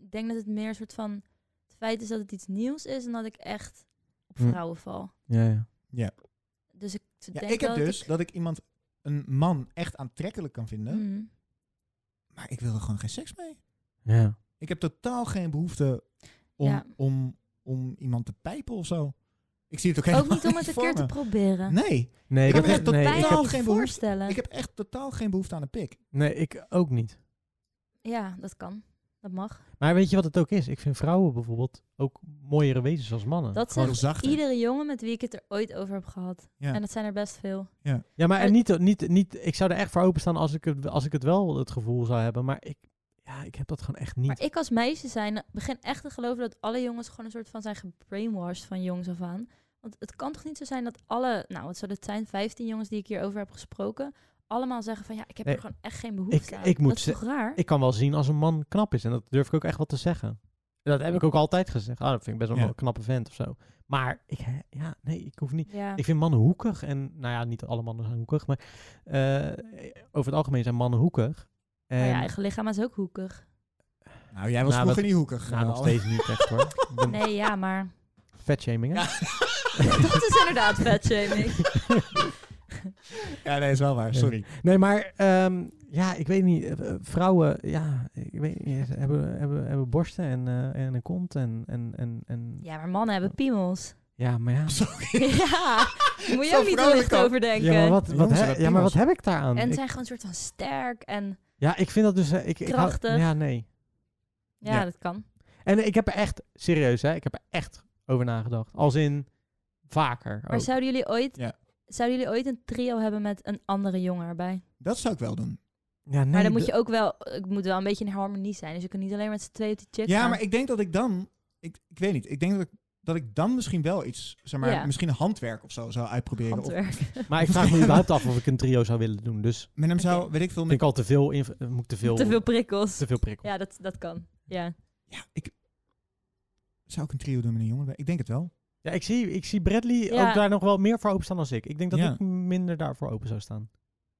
Speaker 2: ik denk dat het meer een soort van... Het feit is dat het iets nieuws is en dat ik echt op
Speaker 6: Hm.
Speaker 2: vrouwen val.
Speaker 6: Ja, ja.
Speaker 2: Dus ik
Speaker 1: Ja,
Speaker 2: denk
Speaker 1: ik heb
Speaker 2: wel
Speaker 1: dus
Speaker 2: Dat
Speaker 1: dat ik iemand, een man, echt aantrekkelijk kan
Speaker 2: ik,
Speaker 1: vinden.
Speaker 2: Mhm.
Speaker 1: Maar ik wil er gewoon geen seks mee.
Speaker 6: ja.
Speaker 1: Ik heb totaal geen behoefte om,
Speaker 2: Ja.
Speaker 1: om, om iemand te pijpen of zo. Ik zie het ook helemaal
Speaker 2: Ook niet om het een
Speaker 1: voor
Speaker 2: keer te
Speaker 1: me.
Speaker 2: proberen.
Speaker 1: Nee,
Speaker 6: Nee,
Speaker 1: Ik
Speaker 6: dat
Speaker 1: heb
Speaker 6: is,
Speaker 1: echt
Speaker 6: nee, ik
Speaker 1: totaal- heb
Speaker 6: heb,
Speaker 1: geen behoefte.
Speaker 2: voorstellen.
Speaker 1: ik heb echt totaal geen behoefte aan een pik.
Speaker 6: nee, ik ook niet.
Speaker 2: Ja, dat kan. Dat mag.
Speaker 6: Maar weet je wat het ook is? Ik vind vrouwen bijvoorbeeld ook mooiere wezens als mannen.
Speaker 2: Dat
Speaker 6: Gewoon-
Speaker 1: Heel zacht. hè?
Speaker 2: Iedere jongen met wie ik het er ooit over heb gehad.
Speaker 1: Ja.
Speaker 2: En dat zijn er best veel.
Speaker 6: Ja, maar en
Speaker 2: Maar-
Speaker 6: niet, niet, niet, ik zou er echt voor openstaan als ik het, als ik het wel het gevoel zou hebben. Maar ik, ja, ik heb dat gewoon echt niet.
Speaker 2: Maar ik als meisje zijn begin echt te geloven dat alle jongens gewoon een soort van zijn gebrainwashed van jongs af aan. Want het kan toch niet zo zijn dat alle, nou wat zou het zijn, 15 jongens die ik hierover heb gesproken, allemaal zeggen van ja, ik heb
Speaker 6: Nee.
Speaker 2: er gewoon echt geen behoefte
Speaker 6: Ik-
Speaker 2: aan.
Speaker 6: ik moet
Speaker 2: dat is
Speaker 6: ze-
Speaker 2: toch raar?
Speaker 6: Ik kan wel zien als een man knap is. En dat durf ik ook echt wel te zeggen. En dat heb ik ook altijd gezegd. Ah, dat vind ik best wel
Speaker 1: Ja.
Speaker 6: een knappe vent of zo. Maar ik, he- ja, nee, ik hoef niet.
Speaker 2: ja.
Speaker 6: Ik vind mannen hoekig. En nou ja, niet alle mannen zijn hoekig. Maar eh, over het algemeen zijn mannen hoekig. En,
Speaker 2: Maar ja, eigen lichaam is ook hoekig.
Speaker 1: Nou, jij was
Speaker 6: Nou,
Speaker 1: vroeger
Speaker 6: dat-
Speaker 1: niet hoekig.
Speaker 6: nou, nog
Speaker 1: eh,
Speaker 6: steeds niet echt hoor. Ik ben-
Speaker 2: Nee, ja, maar
Speaker 6: Vetshaming hè?
Speaker 1: Ja.
Speaker 2: dat is inderdaad vetshaming.
Speaker 1: Ja, nee, is wel waar.
Speaker 6: Ja.
Speaker 1: Sorry.
Speaker 6: Nee, maar ehm, ja, ik weet niet. eh, eh, Vrouwen, ja, ik weet niet. ze Hebben, hebben, hebben borsten en, eh, en een kont en, en, en, en
Speaker 2: Ja, maar mannen hebben piemels.
Speaker 6: ja, maar ja.
Speaker 1: Sorry.
Speaker 2: Ja, moet je
Speaker 1: Zo
Speaker 2: ook niet te
Speaker 1: vrolijk
Speaker 2: licht
Speaker 1: al.
Speaker 2: over denken.
Speaker 6: Ja, maar wat, wat,
Speaker 1: Jongens,
Speaker 6: he-
Speaker 1: dat
Speaker 6: ja, maar
Speaker 1: piemels.
Speaker 6: wat heb ik daaraan?
Speaker 2: En
Speaker 6: Ik-
Speaker 2: zijn gewoon een soort van sterk en
Speaker 6: ja, ik vind dat dus... eh, ik, ik hou-
Speaker 2: Krachtig.
Speaker 6: ja, nee.
Speaker 2: ja,
Speaker 1: Ja.
Speaker 2: dat kan.
Speaker 6: En ik heb er echt, serieus hè, ik heb er echt over nagedacht. Als in vaker
Speaker 2: Maar
Speaker 6: ook.
Speaker 2: zouden jullie ooit,
Speaker 1: Ja.
Speaker 2: zouden jullie ooit een trio hebben met een andere jongen erbij?
Speaker 1: Dat zou ik wel doen.
Speaker 6: Ja, nee,
Speaker 2: maar dan
Speaker 6: de-
Speaker 2: moet je ook wel, het moet wel een beetje in harmonie zijn. Dus je kunt niet alleen met z'n tweeën op die chick
Speaker 1: Ja,
Speaker 2: gaan.
Speaker 1: maar ik denk dat ik dan... Ik, ik weet niet. Ik denk dat ik, dat ik dan misschien wel iets... Zeg maar,
Speaker 2: Ja.
Speaker 1: misschien handwerk of zo zou uitproberen. Of
Speaker 2: handwerk.
Speaker 6: Maar ik vraag me überhaupt af of ik een trio zou willen doen. Dus
Speaker 1: met hem zou...
Speaker 2: Oké.
Speaker 1: Weet ik veel...
Speaker 6: vind ik
Speaker 1: Met,
Speaker 6: al te veel... inv- eh, Moet ik te veel...
Speaker 2: Te veel prikkels.
Speaker 6: te veel prikkel.
Speaker 2: Ja, dat, dat kan. Ja.
Speaker 1: ja, ik... Zou ik een trio doen met een jongen? erbij? Ik denk het wel.
Speaker 6: Ja, ik zie, ik zie Bradley
Speaker 2: Ja.
Speaker 6: ook daar nog wel meer voor openstaan dan ik. Ik denk dat
Speaker 1: Ja.
Speaker 6: ik minder daarvoor open zou staan.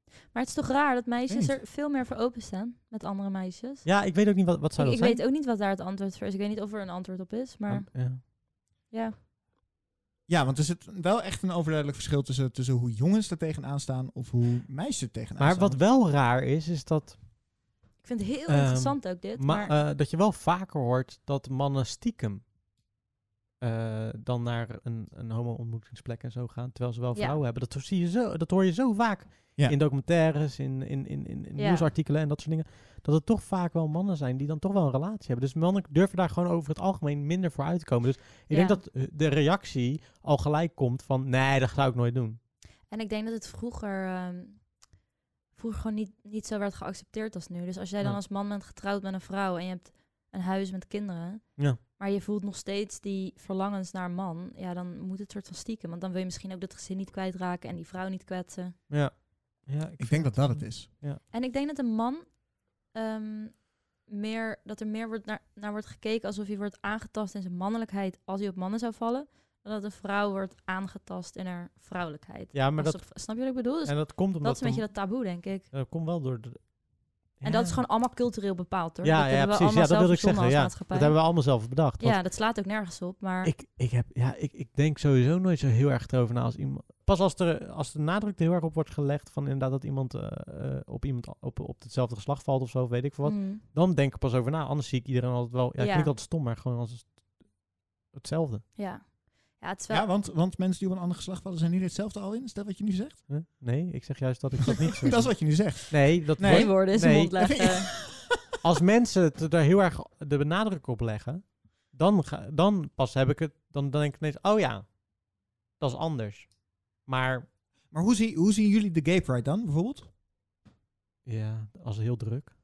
Speaker 2: Maar het is toch raar dat meisjes
Speaker 1: Weet
Speaker 2: er veel meer voor openstaan met andere meisjes.
Speaker 6: Ja, ik weet ook niet wat, wat
Speaker 2: ik
Speaker 6: zou
Speaker 2: ik
Speaker 6: dat zijn.
Speaker 2: weet ook niet wat daar het antwoord voor is. Ik weet niet of er een antwoord op is, maar
Speaker 6: Ah, ja.
Speaker 2: ja.
Speaker 1: Ja, want er zit wel echt een overduidelijk verschil tussen, tussen hoe jongens er tegenaan staan of hoe meisjes er tegenaan
Speaker 6: Maar
Speaker 1: staan.
Speaker 6: wat wel raar is, is dat,
Speaker 2: Ik vind het heel
Speaker 6: Ehm,
Speaker 2: interessant ook dit,
Speaker 6: ma-
Speaker 2: maar
Speaker 6: eh, dat je wel vaker hoort dat mannen stiekem eh, dan naar een, een homo-ontmoetingsplek en zo gaan. Terwijl ze wel
Speaker 2: Ja.
Speaker 6: vrouwen hebben. Dat, zie je zo, dat hoor je zo vaak
Speaker 1: Ja.
Speaker 6: in documentaires, in, in, in, in, in
Speaker 2: Ja.
Speaker 6: nieuwsartikelen en dat soort dingen. Dat het toch vaak wel mannen zijn die dan toch wel een relatie hebben. Dus mannen durven daar gewoon over het algemeen minder voor uit te komen. Dus ik denk
Speaker 2: Ja.
Speaker 6: dat eh, de reactie al gelijk komt van nee, dat zou ik nooit doen.
Speaker 2: En ik denk dat het vroeger, ehm, vroeger gewoon niet, niet zo werd geaccepteerd als nu. Dus als jij dan
Speaker 6: Ja.
Speaker 2: als man bent getrouwd met een vrouw en je hebt een huis met kinderen,
Speaker 6: Ja.
Speaker 2: maar je voelt nog steeds die verlangens naar een man, ja, dan moet het soort van stiekem. Want dan wil je misschien ook dat gezin niet kwijtraken en die vrouw niet kwetsen.
Speaker 6: Ja. ja
Speaker 1: Ik denk dat dat het is.
Speaker 2: En ik denk dat een man ehm, meer, dat er meer wordt naar, naar wordt gekeken alsof hij wordt aangetast in zijn mannelijkheid als hij op mannen zou vallen, dan dat een vrouw wordt aangetast in haar vrouwelijkheid.
Speaker 6: Ja, maar dat,
Speaker 2: Alsof- snap je wat ik bedoel? Dus
Speaker 6: en dat komt
Speaker 2: dat
Speaker 6: omdat...
Speaker 2: is een beetje dat taboe, denk ik.
Speaker 6: dat... komt wel door... De,
Speaker 2: En dat is gewoon allemaal cultureel bepaald, hoor.
Speaker 6: Ja,
Speaker 2: dat
Speaker 6: ja,
Speaker 2: hebben
Speaker 6: precies.
Speaker 2: we allemaal
Speaker 6: Ja, dat
Speaker 2: zelf
Speaker 6: wilde ik
Speaker 2: verzonnen
Speaker 6: zeggen. Ja.
Speaker 2: als
Speaker 6: Dat
Speaker 2: maatschappij.
Speaker 6: hebben we allemaal zelf bedacht. Want
Speaker 2: ja, dat slaat ook nergens op, maar...
Speaker 6: ik, ik, heb, ja, ik, ik denk sowieso nooit zo heel erg erover na als iemand... Pas als, er, als de nadruk er heel erg op wordt gelegd van inderdaad dat iemand eh, eh, op iemand op, op hetzelfde geslacht valt of zo, of weet ik veel wat.
Speaker 2: Mm.
Speaker 6: Dan denk ik pas over na. Anders zie ik iedereen altijd wel... Ja,
Speaker 2: Ja.
Speaker 6: ik klinkt altijd stom, maar gewoon als het- hetzelfde.
Speaker 2: ja. ja, het is wel...
Speaker 1: Ja, want, want mensen die op een ander geslacht vallen zijn niet hetzelfde al in. Is dat wat je nu zegt?
Speaker 6: Huh? Nee, ik zeg juist dat ik dat niet zo
Speaker 1: dat is wat je nu zegt.
Speaker 6: Nee, dat
Speaker 1: Nee.
Speaker 2: Nee,
Speaker 6: wordt-
Speaker 2: woorden is
Speaker 6: Nee.
Speaker 2: mond leggen.
Speaker 6: als mensen het er heel erg de benadruk op leggen, dan, ga- dan pas heb ik het, dan, dan denk ik ineens, oh ja, dat is anders. Maar
Speaker 1: Maar hoe, zie, hoe zien jullie de gay pride dan, bijvoorbeeld?
Speaker 6: ja, als heel druk.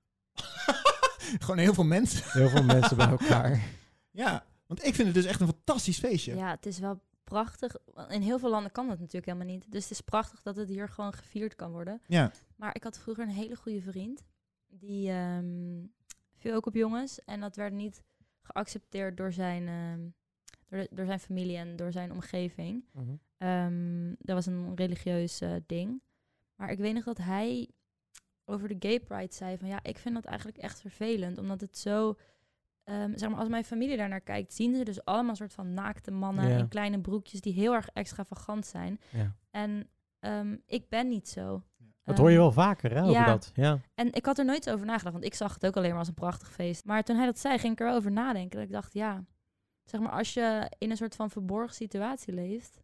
Speaker 1: Gewoon heel veel mensen.
Speaker 6: Heel veel mensen bij elkaar.
Speaker 1: Ja, Want ik vind het dus echt een fantastisch feestje.
Speaker 2: Ja, het is wel prachtig. In heel veel landen kan dat natuurlijk helemaal niet. Dus het is prachtig dat het hier gewoon gevierd kan worden.
Speaker 1: Ja.
Speaker 2: Maar ik had vroeger een hele goede vriend. Die ehm, viel ook op jongens. En dat werd niet geaccepteerd door zijn, ehm, door, de- door zijn familie en door zijn omgeving.
Speaker 6: Mhm.
Speaker 2: Ehm, dat was een religieus eh, ding. Maar ik weet nog dat hij over de gay pride zei van ja, ik vind dat eigenlijk echt vervelend. Omdat het zo, ehm, zeg maar, als mijn familie daarnaar kijkt, zien ze dus allemaal soort van naakte mannen
Speaker 6: Ja.
Speaker 2: in kleine broekjes die heel erg extravagant zijn.
Speaker 6: Ja.
Speaker 2: En ehm, ik ben niet zo.
Speaker 6: Dat hoor je
Speaker 2: Ehm,
Speaker 6: wel vaker, hè, over
Speaker 2: ja.
Speaker 6: dat. Ja.
Speaker 2: en ik had er nooit over nagedacht, want ik zag het ook alleen maar als een prachtig feest. Maar toen hij dat zei, ging ik er wel over nadenken. Dat ik dacht, ja, zeg maar, als je in een soort van verborgen situatie leeft,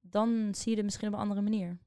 Speaker 2: dan zie je het misschien op een andere manier.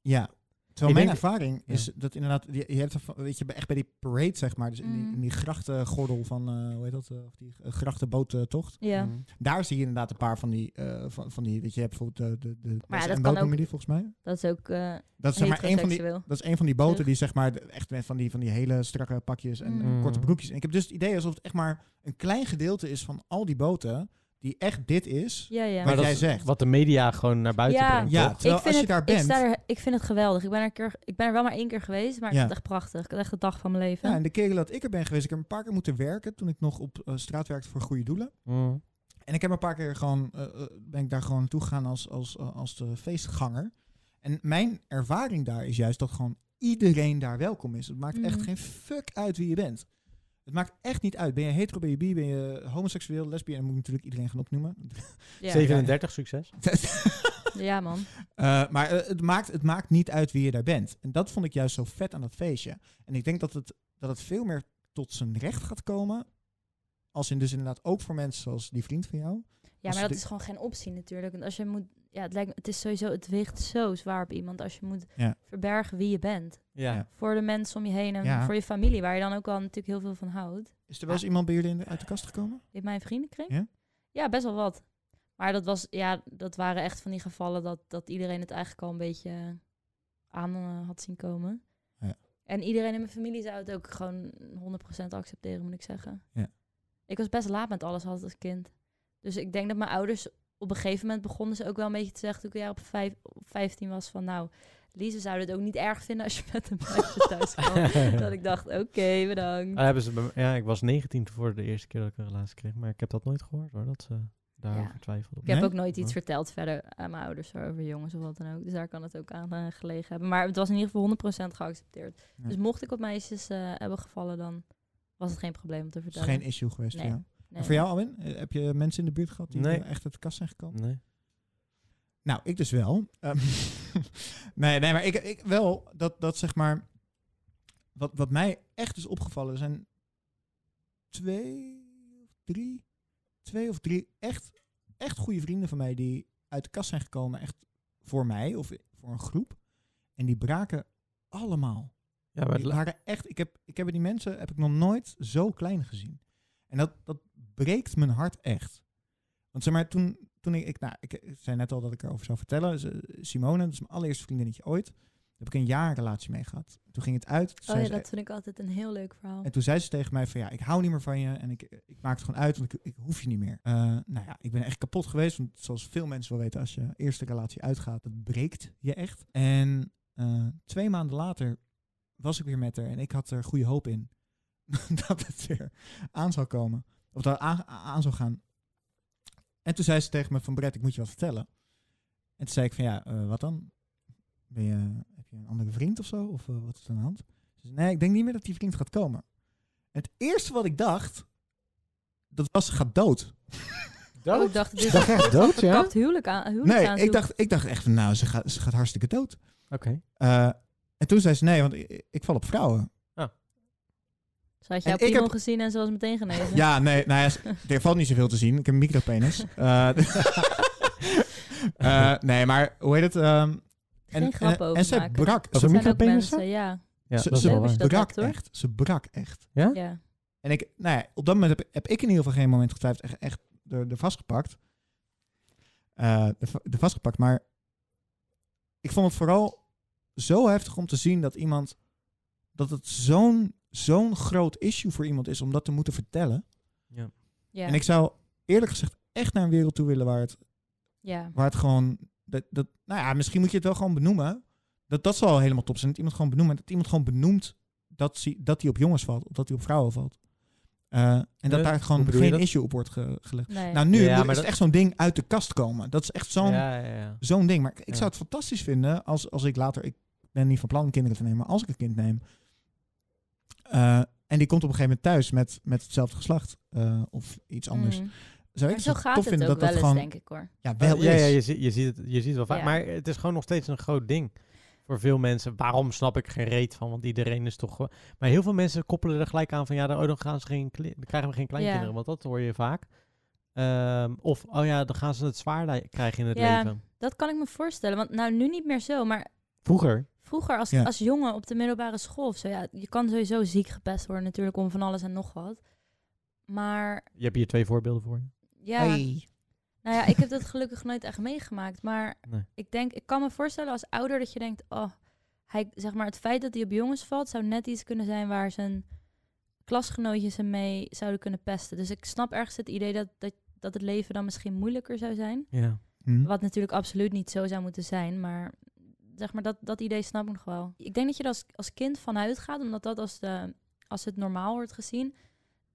Speaker 1: Ja. Terwijl
Speaker 6: Ik
Speaker 1: mijn
Speaker 6: denk-
Speaker 1: ervaring
Speaker 6: ja.
Speaker 1: is dat inderdaad, je, je hebt er van- weet je, bij- echt bij die parade, zeg maar, dus in, die,
Speaker 2: Mm.
Speaker 1: in die grachtengordel van, eh, hoe heet dat, eh, of die eh, grachtenboottocht.
Speaker 2: Ja.
Speaker 6: Mhm.
Speaker 1: Daar zie je inderdaad een paar van die, eh, van, van die, weet je, je hebt bijvoorbeeld de, de, de
Speaker 2: Maar ja,
Speaker 1: SN
Speaker 2: dat kan
Speaker 1: boot
Speaker 2: ook-
Speaker 1: noemen die volgens mij.
Speaker 2: Dat is ook eh
Speaker 1: Dat is, zeg maar een van die,
Speaker 2: heteroseksueel.
Speaker 1: dat is een van die boten
Speaker 2: Terug.
Speaker 1: die zeg maar de- echt met van die, van die hele strakke pakjes en, en
Speaker 6: Mm.
Speaker 1: korte broekjes. En ik heb dus het idee alsof het echt maar een klein gedeelte is van al die boten die echt dit is.
Speaker 2: Ja, ja.
Speaker 1: Maar
Speaker 6: dat
Speaker 1: jij
Speaker 6: is
Speaker 1: zegt.
Speaker 6: Wat de media gewoon naar buiten
Speaker 2: Ja.
Speaker 6: brengt.
Speaker 1: Ja,
Speaker 6: toch?
Speaker 1: terwijl
Speaker 2: ik
Speaker 1: als
Speaker 2: vind
Speaker 1: je
Speaker 2: het,
Speaker 1: daar bent.
Speaker 2: Ik, sta er, ik vind het geweldig. Ik ben, er een keer, ik ben er wel maar één keer geweest, maar ik
Speaker 1: Ja.
Speaker 2: vind het echt prachtig. Ik had echt de dag van mijn leven.
Speaker 1: Ja, en de keren dat ik er ben geweest, ik heb een paar keer moeten werken toen ik nog op eh, straat werkte voor goede doelen.
Speaker 6: Mhm.
Speaker 1: En ik heb een paar keer gewoon, eh, eh, ben ik daar gewoon naartoe gegaan als, als, eh, als de feestganger. En mijn ervaring daar is juist dat gewoon iedereen daar welkom is. Het maakt echt
Speaker 2: Mhm.
Speaker 1: geen fuck uit wie je bent. Het maakt echt niet uit. Ben je hetero, ben je bi, ben je homoseksueel, lesbisch? En dan moet ik natuurlijk iedereen gaan opnoemen.
Speaker 2: Ja.
Speaker 6: 37, succes.
Speaker 2: ja, man.
Speaker 1: Eh, maar eh, het, maakt, het maakt niet uit wie je daar bent. En dat vond ik juist zo vet aan dat feestje. En ik denk dat het, dat het veel meer tot zijn recht gaat komen. Als in dus inderdaad ook voor mensen zoals die vriend van jou.
Speaker 2: Ja,
Speaker 1: Als
Speaker 2: maar
Speaker 1: je
Speaker 2: dat
Speaker 1: de-
Speaker 2: is gewoon geen optie natuurlijk. Want als je moet, ja, het, lijkt, me- het is sowieso, het weegt zo zwaar op iemand als je moet
Speaker 1: Ja.
Speaker 2: verbergen wie je bent.
Speaker 6: Ja.
Speaker 1: Ja.
Speaker 2: Voor de mensen om je heen en
Speaker 1: Ja.
Speaker 2: voor je familie, waar je dan ook al natuurlijk heel veel van houdt.
Speaker 1: Is er wel eens iemand bij jullie in de- uit de kast gekomen?
Speaker 2: In mijn vriendenkring?
Speaker 1: Ja?
Speaker 2: Ja, best wel wat. Maar dat, was, ja, dat waren echt van die gevallen dat, dat iedereen het eigenlijk al een beetje aan eh, had zien komen.
Speaker 1: Ja.
Speaker 2: En iedereen in mijn familie zou het ook gewoon 100% accepteren, moet ik zeggen.
Speaker 1: Ja.
Speaker 2: Ik was best laat met alles altijd als kind. Dus ik denk dat mijn ouders op een gegeven moment begonnen ze ook wel een beetje te zeggen toen ik ja, op, vijf, op 15 was van nou, Lise zou het ook niet erg vinden als je met een meisje thuis kwam. dat ik dacht, oké, bedankt.
Speaker 6: Ah, hebben ze bij me- ja, ik was 19 voor de eerste keer dat ik een relatie kreeg, maar ik heb dat nooit gehoord hoor, dat ze daarover
Speaker 2: Ja.
Speaker 6: twijfelden.
Speaker 2: Ik heb
Speaker 1: Nee?
Speaker 2: ook nooit iets
Speaker 6: Ja.
Speaker 2: verteld verder aan mijn ouders over jongens of wat dan ook. Dus daar kan het ook aan eh, gelegen hebben. Maar het was in ieder geval 100% geaccepteerd.
Speaker 1: Ja.
Speaker 2: Dus mocht ik op meisjes eh, hebben gevallen, dan was het geen probleem om te
Speaker 1: Het is
Speaker 2: vertellen.
Speaker 1: geen issue geweest
Speaker 2: Nee.
Speaker 1: voor jou.
Speaker 2: Nee. Oh
Speaker 1: En voor jou, Alwin, Eh, heb je mensen in de buurt gehad die
Speaker 6: Nee.
Speaker 1: eh, echt uit de kast zijn gekomen?
Speaker 6: Nee.
Speaker 1: Nou, ik dus wel. Ehm, nee, nee, maar ik, ik wel dat, dat zeg maar. Wat, wat mij echt is opgevallen zijn twee, drie, twee of drie echt, echt goede vrienden van mij die uit de kast zijn gekomen, echt voor mij of voor een groep. En die braken allemaal.
Speaker 6: Ja, maar het
Speaker 1: Die
Speaker 6: la-
Speaker 1: waren echt, ik heb, ik heb die mensen heb ik nog nooit zo klein gezien. En dat, dat breekt mijn hart echt. Want zeg maar, toen, toen ik, ik, nou, ik zei net al dat ik erover zou vertellen. Ze- Simone, dat is mijn allereerste vriendinnetje ooit. Daar heb ik een jaar relatie mee gehad. Toen ging het uit. Toen
Speaker 2: Oh
Speaker 1: zei
Speaker 2: ja,
Speaker 1: ze-
Speaker 2: dat vind ik altijd een heel leuk verhaal.
Speaker 1: en toen zei ze tegen mij van ja, ik hou niet meer van je en ik, ik maak het gewoon uit, want ik, ik hoef je niet meer. Eh, nou ja, ik ben echt kapot geweest, want zoals veel mensen wel weten, als je eerste relatie uitgaat, dat breekt je echt. En eh, twee maanden later was ik weer met haar en ik had er goede hoop in dat het weer aan zou komen. Of dat het aan, aan zou gaan. En toen zei ze tegen me van Brett, ik moet je wat vertellen. En toen zei ik van ja, eh, wat dan? Ben je, heb je een andere vriend of zo? Of eh, wat is er aan de hand? Ze zei, nee, ik denk niet meer dat die vriend gaat komen. En het eerste wat ik dacht, dat was ze gaat dood.
Speaker 2: Oh, ik dacht, het is
Speaker 7: Dacht
Speaker 2: een
Speaker 7: echt dood, ja?
Speaker 2: verkapt huwelijk aan. Huwelijk
Speaker 1: Nee,
Speaker 2: aan
Speaker 1: ik dacht, ik dacht echt van nou, ze gaat, ze gaat hartstikke dood.
Speaker 6: Oké.
Speaker 1: Eh, en toen zei ze nee, want ik, ik val op vrouwen.
Speaker 2: Ze had jouw
Speaker 1: en ik
Speaker 2: piemel
Speaker 1: heb-
Speaker 2: gezien en ze was meteen genezen.
Speaker 1: Ja, nee, nou ja, s- er valt niet zoveel te zien. Ik heb een micropenis. Eh, eh, nee, maar hoe heet het? ehm,
Speaker 2: Geen
Speaker 1: en,
Speaker 2: grap
Speaker 1: en,
Speaker 2: over
Speaker 1: en ze
Speaker 2: maken.
Speaker 1: brak.
Speaker 6: Over
Speaker 1: Ze,
Speaker 2: Er zijn ook
Speaker 6: micropenissen?
Speaker 2: mensen, Ja,
Speaker 6: Ja,
Speaker 1: ze,
Speaker 6: dat is
Speaker 1: ze
Speaker 2: leuk
Speaker 6: wel
Speaker 2: als
Speaker 6: waar.
Speaker 2: je dat
Speaker 1: brak
Speaker 2: hebt, hoor.
Speaker 1: echt. Ze brak echt.
Speaker 6: Ja?
Speaker 2: ja.
Speaker 1: En ik, nou ja, op dat moment heb, heb ik in ieder geval geen moment getwijfeld. Echt, echt er, er vastgepakt. Eh, er, va- er vastgepakt. Maar ik vond het vooral zo heftig om te zien dat iemand... Dat het zo'n zo'n groot issue voor iemand is om dat te moeten vertellen.
Speaker 6: Ja.
Speaker 2: ja.
Speaker 1: En ik zou eerlijk gezegd echt naar een wereld toe willen waar het,
Speaker 2: Ja.
Speaker 1: waar het gewoon... Dat, dat, nou ja, misschien moet je het wel gewoon benoemen. Dat, dat zal helemaal top zijn. Dat iemand gewoon benoemt. Dat iemand gewoon benoemt dat hij dat die op jongens valt. Of dat hij op vrouwen valt. Eh, en dat
Speaker 6: Eh,
Speaker 1: daar
Speaker 6: hoe
Speaker 1: gewoon
Speaker 6: bedoel je
Speaker 1: geen
Speaker 6: dat?
Speaker 1: issue op wordt ge- gelegd.
Speaker 2: Nee.
Speaker 1: Nou, nu
Speaker 6: Ja,
Speaker 1: moet-
Speaker 6: maar
Speaker 1: is
Speaker 6: dat-
Speaker 1: het echt zo'n ding uit de kast komen. Dat is echt zo'n
Speaker 6: Ja, ja, ja.
Speaker 1: zo'n ding. Maar ik, ik
Speaker 6: Ja.
Speaker 1: zou het fantastisch vinden als, als ik later... Ik ben niet van plan om kinderen te nemen, maar als ik een kind neem... eh, en die komt op een gegeven moment thuis met, met hetzelfde geslacht eh, of iets anders.
Speaker 2: Mm.
Speaker 1: Zou ik
Speaker 2: Maar zo
Speaker 1: het tof
Speaker 2: gaat het ook
Speaker 1: vinden
Speaker 2: wel
Speaker 1: dat dat
Speaker 2: eens,
Speaker 1: gewoon...
Speaker 2: denk ik hoor.
Speaker 1: Ja, wel
Speaker 6: ja, ja,
Speaker 1: is.
Speaker 6: je, zie- je, ziet het, je ziet het wel vaak.
Speaker 2: Ja.
Speaker 6: Maar het is gewoon nog steeds een groot ding voor veel mensen. Waarom snap ik geen reet van? Want iedereen is toch... eh, Maar heel veel mensen koppelen er gelijk aan van... Ja, dan, oh, dan, gaan ze geen, kle- dan krijgen we geen kleinkinderen.
Speaker 2: Ja.
Speaker 6: Want dat hoor je vaak. Ehm, of, oh ja, dan gaan ze het zwaar li- krijgen in het
Speaker 2: Ja.
Speaker 6: leven.
Speaker 2: Dat kan ik me voorstellen. Want nou, nu niet meer zo. Maar
Speaker 6: Vroeger.
Speaker 2: vroeger als,
Speaker 1: Ja.
Speaker 2: als jongen op de middelbare school of zo. Ja, je kan sowieso ziek gepest worden natuurlijk om van alles en nog wat. Maar
Speaker 6: Je hebt hier twee voorbeelden voor.
Speaker 2: ja,
Speaker 1: Hey.
Speaker 2: nou ja, ik heb dat gelukkig nooit echt meegemaakt. Maar
Speaker 6: Nee.
Speaker 2: ik denk, ik kan me voorstellen als ouder dat je denkt... Oh, hij, zeg maar, het feit dat hij op jongens valt zou net iets kunnen zijn waar zijn klasgenootjes hem mee zouden kunnen pesten. Dus ik snap ergens het idee dat, dat, dat het leven dan misschien moeilijker zou zijn.
Speaker 6: Ja.
Speaker 1: Hm.
Speaker 2: Wat natuurlijk absoluut niet zo zou moeten zijn, maar zeg maar, dat, dat idee snap ik nog wel. Ik denk dat je er als, als kind vanuit gaat, omdat dat als, de, als het normaal wordt gezien,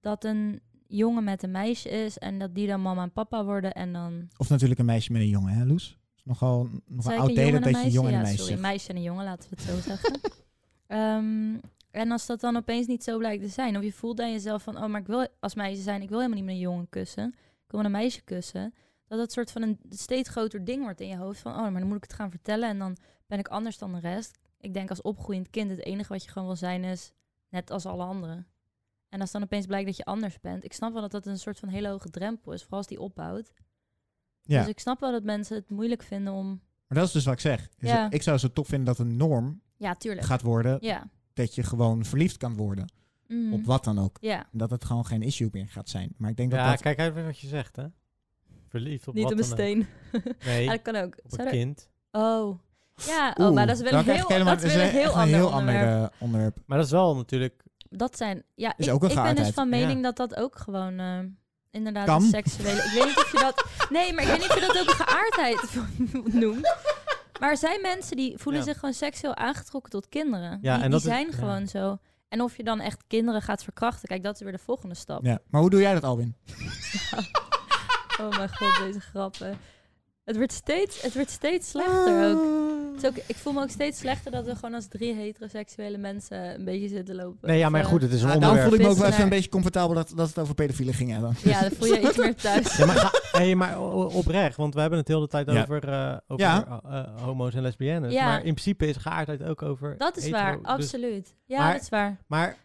Speaker 2: dat een jongen met een meisje is en dat die dan mama en papa worden en dan...
Speaker 1: Of natuurlijk een meisje met een jongen, hè, Loes? Is nogal nog
Speaker 2: Zei
Speaker 1: een
Speaker 2: ik
Speaker 1: oud delen dat je een jongen en een
Speaker 2: Ja,
Speaker 1: meisje
Speaker 2: sorry,
Speaker 1: zegt.
Speaker 2: een meisje en een jongen, laten we het zo zeggen. Ehm, en als dat dan opeens niet zo blijkt te zijn, of je voelt aan jezelf van, oh, maar ik wil als meisje zijn, ik wil helemaal niet met een jongen kussen, ik wil met een meisje kussen, dat dat soort van een steeds groter ding wordt in je hoofd van, oh, maar dan moet ik het gaan vertellen en dan ben ik anders dan de rest. Ik denk als opgroeiend kind, het enige wat je gewoon wil zijn is net als alle anderen. En als dan opeens blijkt dat je anders bent, ik snap wel dat dat een soort van hele hoge drempel is, vooral als die opbouwt.
Speaker 1: Ja.
Speaker 2: Dus ik snap wel dat mensen het moeilijk vinden om,
Speaker 1: Maar dat is dus wat ik zeg. Dus
Speaker 2: Ja.
Speaker 1: Ik zou zo tof vinden dat een norm
Speaker 2: ja, tuurlijk.
Speaker 1: gaat worden
Speaker 2: Ja.
Speaker 1: dat je gewoon verliefd kan worden.
Speaker 2: Mhm.
Speaker 1: Op wat dan ook.
Speaker 2: Ja.
Speaker 1: En dat het gewoon geen issue meer gaat zijn. Maar ik denk dat
Speaker 6: Ja,
Speaker 1: dat...
Speaker 6: kijk uit wat je zegt, hè. Verliefd op
Speaker 2: Niet
Speaker 6: wat
Speaker 2: op een
Speaker 6: dan ook.
Speaker 2: steen.
Speaker 6: Nee,
Speaker 2: Ja, Ah, dat kan ook.
Speaker 6: op
Speaker 2: Zou
Speaker 6: een
Speaker 2: er-
Speaker 6: kind.
Speaker 2: Oh. Ja, oh,
Speaker 1: Oeh,
Speaker 2: maar dat is wel
Speaker 1: dan
Speaker 2: een
Speaker 1: krijg
Speaker 2: heel,
Speaker 1: ik helemaal-
Speaker 2: dat is weer een
Speaker 1: echt
Speaker 2: heel ander onderwerp.
Speaker 1: eh, onderwerp.
Speaker 6: Maar dat is wel natuurlijk...
Speaker 2: Dat zijn... Ja,
Speaker 1: Is
Speaker 2: ik,
Speaker 1: ook een
Speaker 2: ik ben dus
Speaker 1: geaardheid.
Speaker 2: van
Speaker 6: Ja.
Speaker 2: mening dat dat ook gewoon... eh, inderdaad
Speaker 1: Kan.
Speaker 2: een seksuele... Ik weet niet of je dat... Nee, maar ik weet niet of je dat ook een geaardheid noemt. Maar er zijn mensen die voelen
Speaker 6: Ja.
Speaker 2: zich gewoon seksueel aangetrokken tot kinderen.
Speaker 6: Ja,
Speaker 2: die
Speaker 6: en
Speaker 2: die
Speaker 6: dat is-
Speaker 2: zijn
Speaker 6: ja.
Speaker 2: gewoon zo. En of je dan echt kinderen gaat verkrachten, kijk, dat is weer de volgende stap.
Speaker 1: Ja. Maar hoe doe jij dat, Alwin?
Speaker 2: Oh mijn god, deze grappen. Het wordt steeds, het wordt steeds
Speaker 6: Ah.
Speaker 2: slechter ook. Het is ook. Ik voel me ook steeds slechter dat we gewoon als drie heteroseksuele mensen een beetje zitten lopen.
Speaker 6: Nee, ja, maar
Speaker 2: Of, eh,
Speaker 6: goed, het is een
Speaker 1: Ah, daarom
Speaker 6: onderwerp.
Speaker 1: voel ik me ook wel even
Speaker 2: Vissenaar.
Speaker 1: een beetje comfortabel dat, dat het over pedofielen ging hebben.
Speaker 2: Ja, dan voel je je iets meer thuis.
Speaker 6: Ja, maar, ga, hey, maar
Speaker 1: oh,
Speaker 6: o- o- oprecht, want we hebben het heel de tijd
Speaker 1: Ja.
Speaker 6: over, eh, over
Speaker 1: Ja.
Speaker 6: eh, eh, homo's en lesbiennes.
Speaker 2: Ja.
Speaker 6: Maar in principe is geaardheid ook over
Speaker 2: Dat is
Speaker 6: hetero.
Speaker 2: waar,
Speaker 6: Dus-
Speaker 2: absoluut. Ja,
Speaker 6: maar-
Speaker 2: dat is waar.
Speaker 6: Maar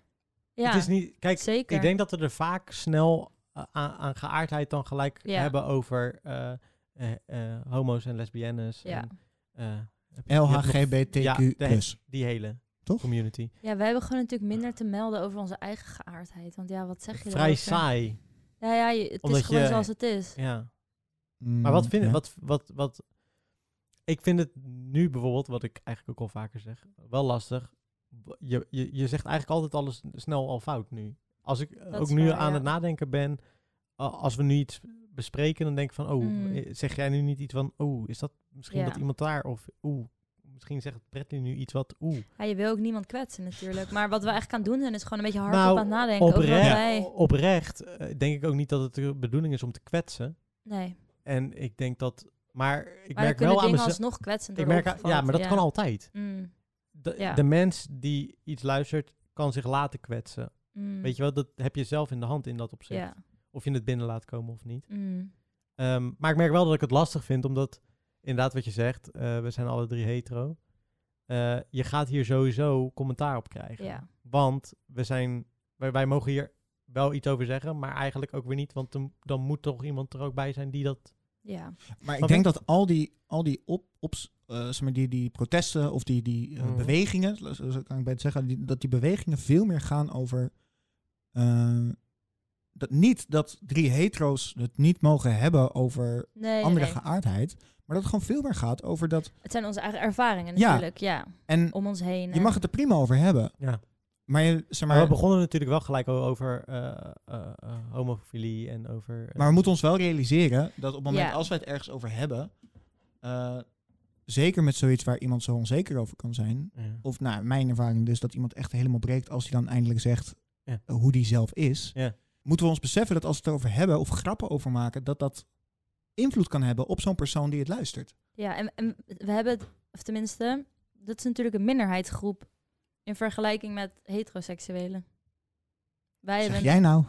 Speaker 2: Ja,
Speaker 6: het is niet... Kijk,
Speaker 2: zeker.
Speaker 6: ik denk dat we er vaak snel eh, aan, aan geaardheid dan gelijk
Speaker 2: Ja.
Speaker 6: hebben over eh, eh, eh, homo's en lesbiennes.
Speaker 2: ja.
Speaker 6: En, eh, heb je- je hebt nog Ja,
Speaker 1: LHGBTQ+.
Speaker 6: de- die hele
Speaker 1: Toch?
Speaker 6: community.
Speaker 2: ja, wij hebben gewoon natuurlijk minder te melden over onze eigen geaardheid. Want ja, wat zeg je
Speaker 6: Vrij
Speaker 2: daarover?
Speaker 6: saai.
Speaker 2: Ja, ja, je- het
Speaker 6: Omdat
Speaker 2: is gewoon
Speaker 6: je-
Speaker 2: zoals het is.
Speaker 6: Ja.
Speaker 1: Mm,
Speaker 6: Maar wat vind
Speaker 1: ja.
Speaker 6: wat, wat, wat, ik vind het nu bijvoorbeeld, wat ik eigenlijk ook al vaker zeg, wel lastig. B- Je, je, je zegt eigenlijk altijd alles snel al fout nu. Als ik eh, ook
Speaker 2: is
Speaker 6: nu
Speaker 2: waar,
Speaker 6: aan
Speaker 2: ja.
Speaker 6: het nadenken ben, a- als we nu iets bespreken, dan denk ik van, oh,
Speaker 2: Mm.
Speaker 6: eh, zeg jij nu niet iets van, oh, is dat misschien
Speaker 2: Ja.
Speaker 6: dat iemand daar? Of, oeh, misschien zegt Bradley nu iets wat, oeh.
Speaker 2: Ja, je wil ook niemand kwetsen natuurlijk. Maar wat we eigenlijk aan het doen zijn, is gewoon een beetje hardop
Speaker 6: Nou,
Speaker 2: aan het nadenken over wat
Speaker 6: Oprecht,
Speaker 2: wij...
Speaker 6: oprecht eh, denk ik ook niet dat het de bedoeling is om te kwetsen.
Speaker 2: Nee,
Speaker 6: En ik denk dat, maar ik
Speaker 2: maar dan kunnen
Speaker 6: merk wel aan
Speaker 2: dingen
Speaker 6: mezelf.
Speaker 2: alsnog kwetsend
Speaker 6: Ik
Speaker 2: worden
Speaker 6: merk, aan- ja,
Speaker 2: opgevat,
Speaker 6: maar dat kan altijd.
Speaker 2: Mm,
Speaker 6: De,
Speaker 2: Ja.
Speaker 6: de mens die iets luistert, kan zich laten kwetsen.
Speaker 2: mm,
Speaker 6: Weet je wel, dat heb je zelf in de hand in dat opzicht.
Speaker 2: Ja.
Speaker 6: Of je het binnen laat komen of niet.
Speaker 2: mm.
Speaker 6: Ehm, maar ik merk wel dat ik het lastig vind, omdat inderdaad wat je zegt, eh, we zijn alle drie hetero. Eh, je gaat hier sowieso commentaar op krijgen.
Speaker 2: Ja.
Speaker 6: Want we zijn, wij, wij mogen hier wel iets over zeggen, maar eigenlijk ook weer niet. Want dan, dan moet toch iemand er ook bij zijn die dat...
Speaker 2: Ja.
Speaker 1: Maar ik
Speaker 6: Wat
Speaker 1: denk
Speaker 6: denk-
Speaker 1: dat al die, al die, op, ops, eh, zeg maar die, die protesten of die, die eh,
Speaker 6: Mhm.
Speaker 1: bewegingen, zo- zo kan ik bij het zeggen, die- dat die bewegingen veel meer gaan over. eh, dat niet dat drie hetero's het niet mogen hebben over
Speaker 2: Nee,
Speaker 1: andere
Speaker 2: nee.
Speaker 1: geaardheid, maar dat het gewoon veel meer gaat over dat.
Speaker 2: Het zijn onze eigen ervaringen
Speaker 1: Ja.
Speaker 2: natuurlijk, ja.
Speaker 1: En
Speaker 2: Om ons heen.
Speaker 1: je mag het er prima over hebben.
Speaker 6: Ja.
Speaker 1: Maar, je- zeg
Speaker 6: Maar
Speaker 1: maar,
Speaker 6: we begonnen natuurlijk wel gelijk al over eh, eh, eh, homofilie en over... eh,
Speaker 1: maar we moeten ons wel realiseren dat op het moment
Speaker 2: Ja.
Speaker 1: als wij het ergens over hebben, eh, zeker met zoiets waar iemand zo onzeker over kan zijn,
Speaker 6: ja.
Speaker 1: of nou, mijn ervaring dus, dat iemand echt helemaal breekt als hij dan eindelijk zegt
Speaker 6: Ja.
Speaker 1: eh, hoe die zelf is,
Speaker 6: Ja.
Speaker 1: moeten we ons beseffen dat als we het erover hebben of grappen over maken, dat dat invloed kan hebben op zo'n persoon die het luistert.
Speaker 2: Ja, en, en we hebben het, of tenminste, dat is natuurlijk een minderheidsgroep in vergelijking met heteroseksuelen. Wij
Speaker 1: zeg
Speaker 2: hebben.
Speaker 1: jij nou?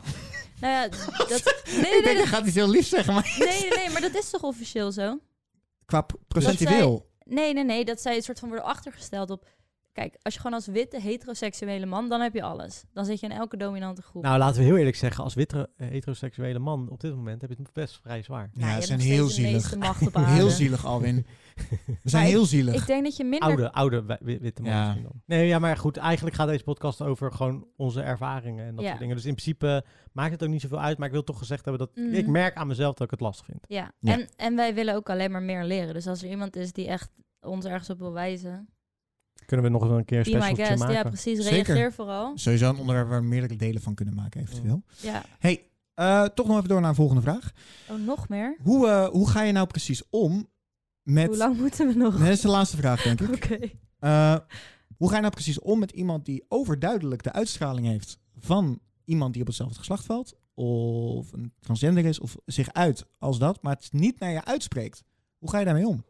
Speaker 2: Nou ja, dat, nee, nee,
Speaker 1: ik denk,
Speaker 2: nee.
Speaker 1: dat gaat iets heel lief zeggen, maar
Speaker 2: nee, nee, nee, maar dat is toch officieel zo?
Speaker 1: qua p- procentueel.
Speaker 2: Nee, nee, nee, dat zij een soort van worden achtergesteld op. Kijk, als je gewoon als witte heteroseksuele man, dan heb je alles. Dan zit je in elke dominante groep.
Speaker 6: Nou, laten we heel eerlijk zeggen, als witte eh, heteroseksuele man op dit moment heb je het best vrij zwaar.
Speaker 1: ja,
Speaker 2: Nou, je
Speaker 1: ze
Speaker 2: hebt
Speaker 1: zijn
Speaker 2: nog
Speaker 1: heel
Speaker 2: steeds de
Speaker 1: zielig.
Speaker 2: meeste macht op aarde.
Speaker 1: Heel zielig, Alwin. We zijn
Speaker 2: ik-
Speaker 1: heel zielig.
Speaker 2: Ik denk dat je minder
Speaker 6: Oude, oude wi- wi- witte man
Speaker 1: Ja.
Speaker 6: misschien dan. Nee, ja, maar goed, eigenlijk gaat deze podcast over gewoon onze ervaringen en dat
Speaker 2: Ja.
Speaker 6: soort dingen. Dus in principe maakt het ook niet zoveel uit, maar ik wil toch gezegd hebben dat
Speaker 2: Mhm.
Speaker 6: ik merk aan mezelf dat ik het lastig vind.
Speaker 2: Ja,
Speaker 1: Ja.
Speaker 2: En, en wij willen ook alleen maar meer leren. Dus als er iemand is die echt ons ergens op wil wijzen,
Speaker 6: Kunnen we nog wel een keer een
Speaker 2: be my
Speaker 6: specialtje
Speaker 2: guest.
Speaker 6: maken?
Speaker 2: Ja, precies.
Speaker 1: Zeker.
Speaker 2: Reageer vooral.
Speaker 1: Sowieso een onderwerp waar we meerdere delen van kunnen maken, eventueel.
Speaker 2: Ja.
Speaker 1: Hey, eh, toch nog even door naar een volgende vraag.
Speaker 2: Oh, nog meer?
Speaker 1: Hoe, eh, hoe ga je nou precies om met...
Speaker 2: Hoe lang moeten we nog?
Speaker 1: Nee, dat is de laatste vraag, denk ik.
Speaker 2: Oké.
Speaker 1: Eh, hoe ga je nou precies om met iemand die overduidelijk de uitstraling heeft van iemand die op hetzelfde geslacht valt? Of een transgender is, of zich uit als dat, maar het niet naar je uitspreekt. Hoe ga je daarmee om?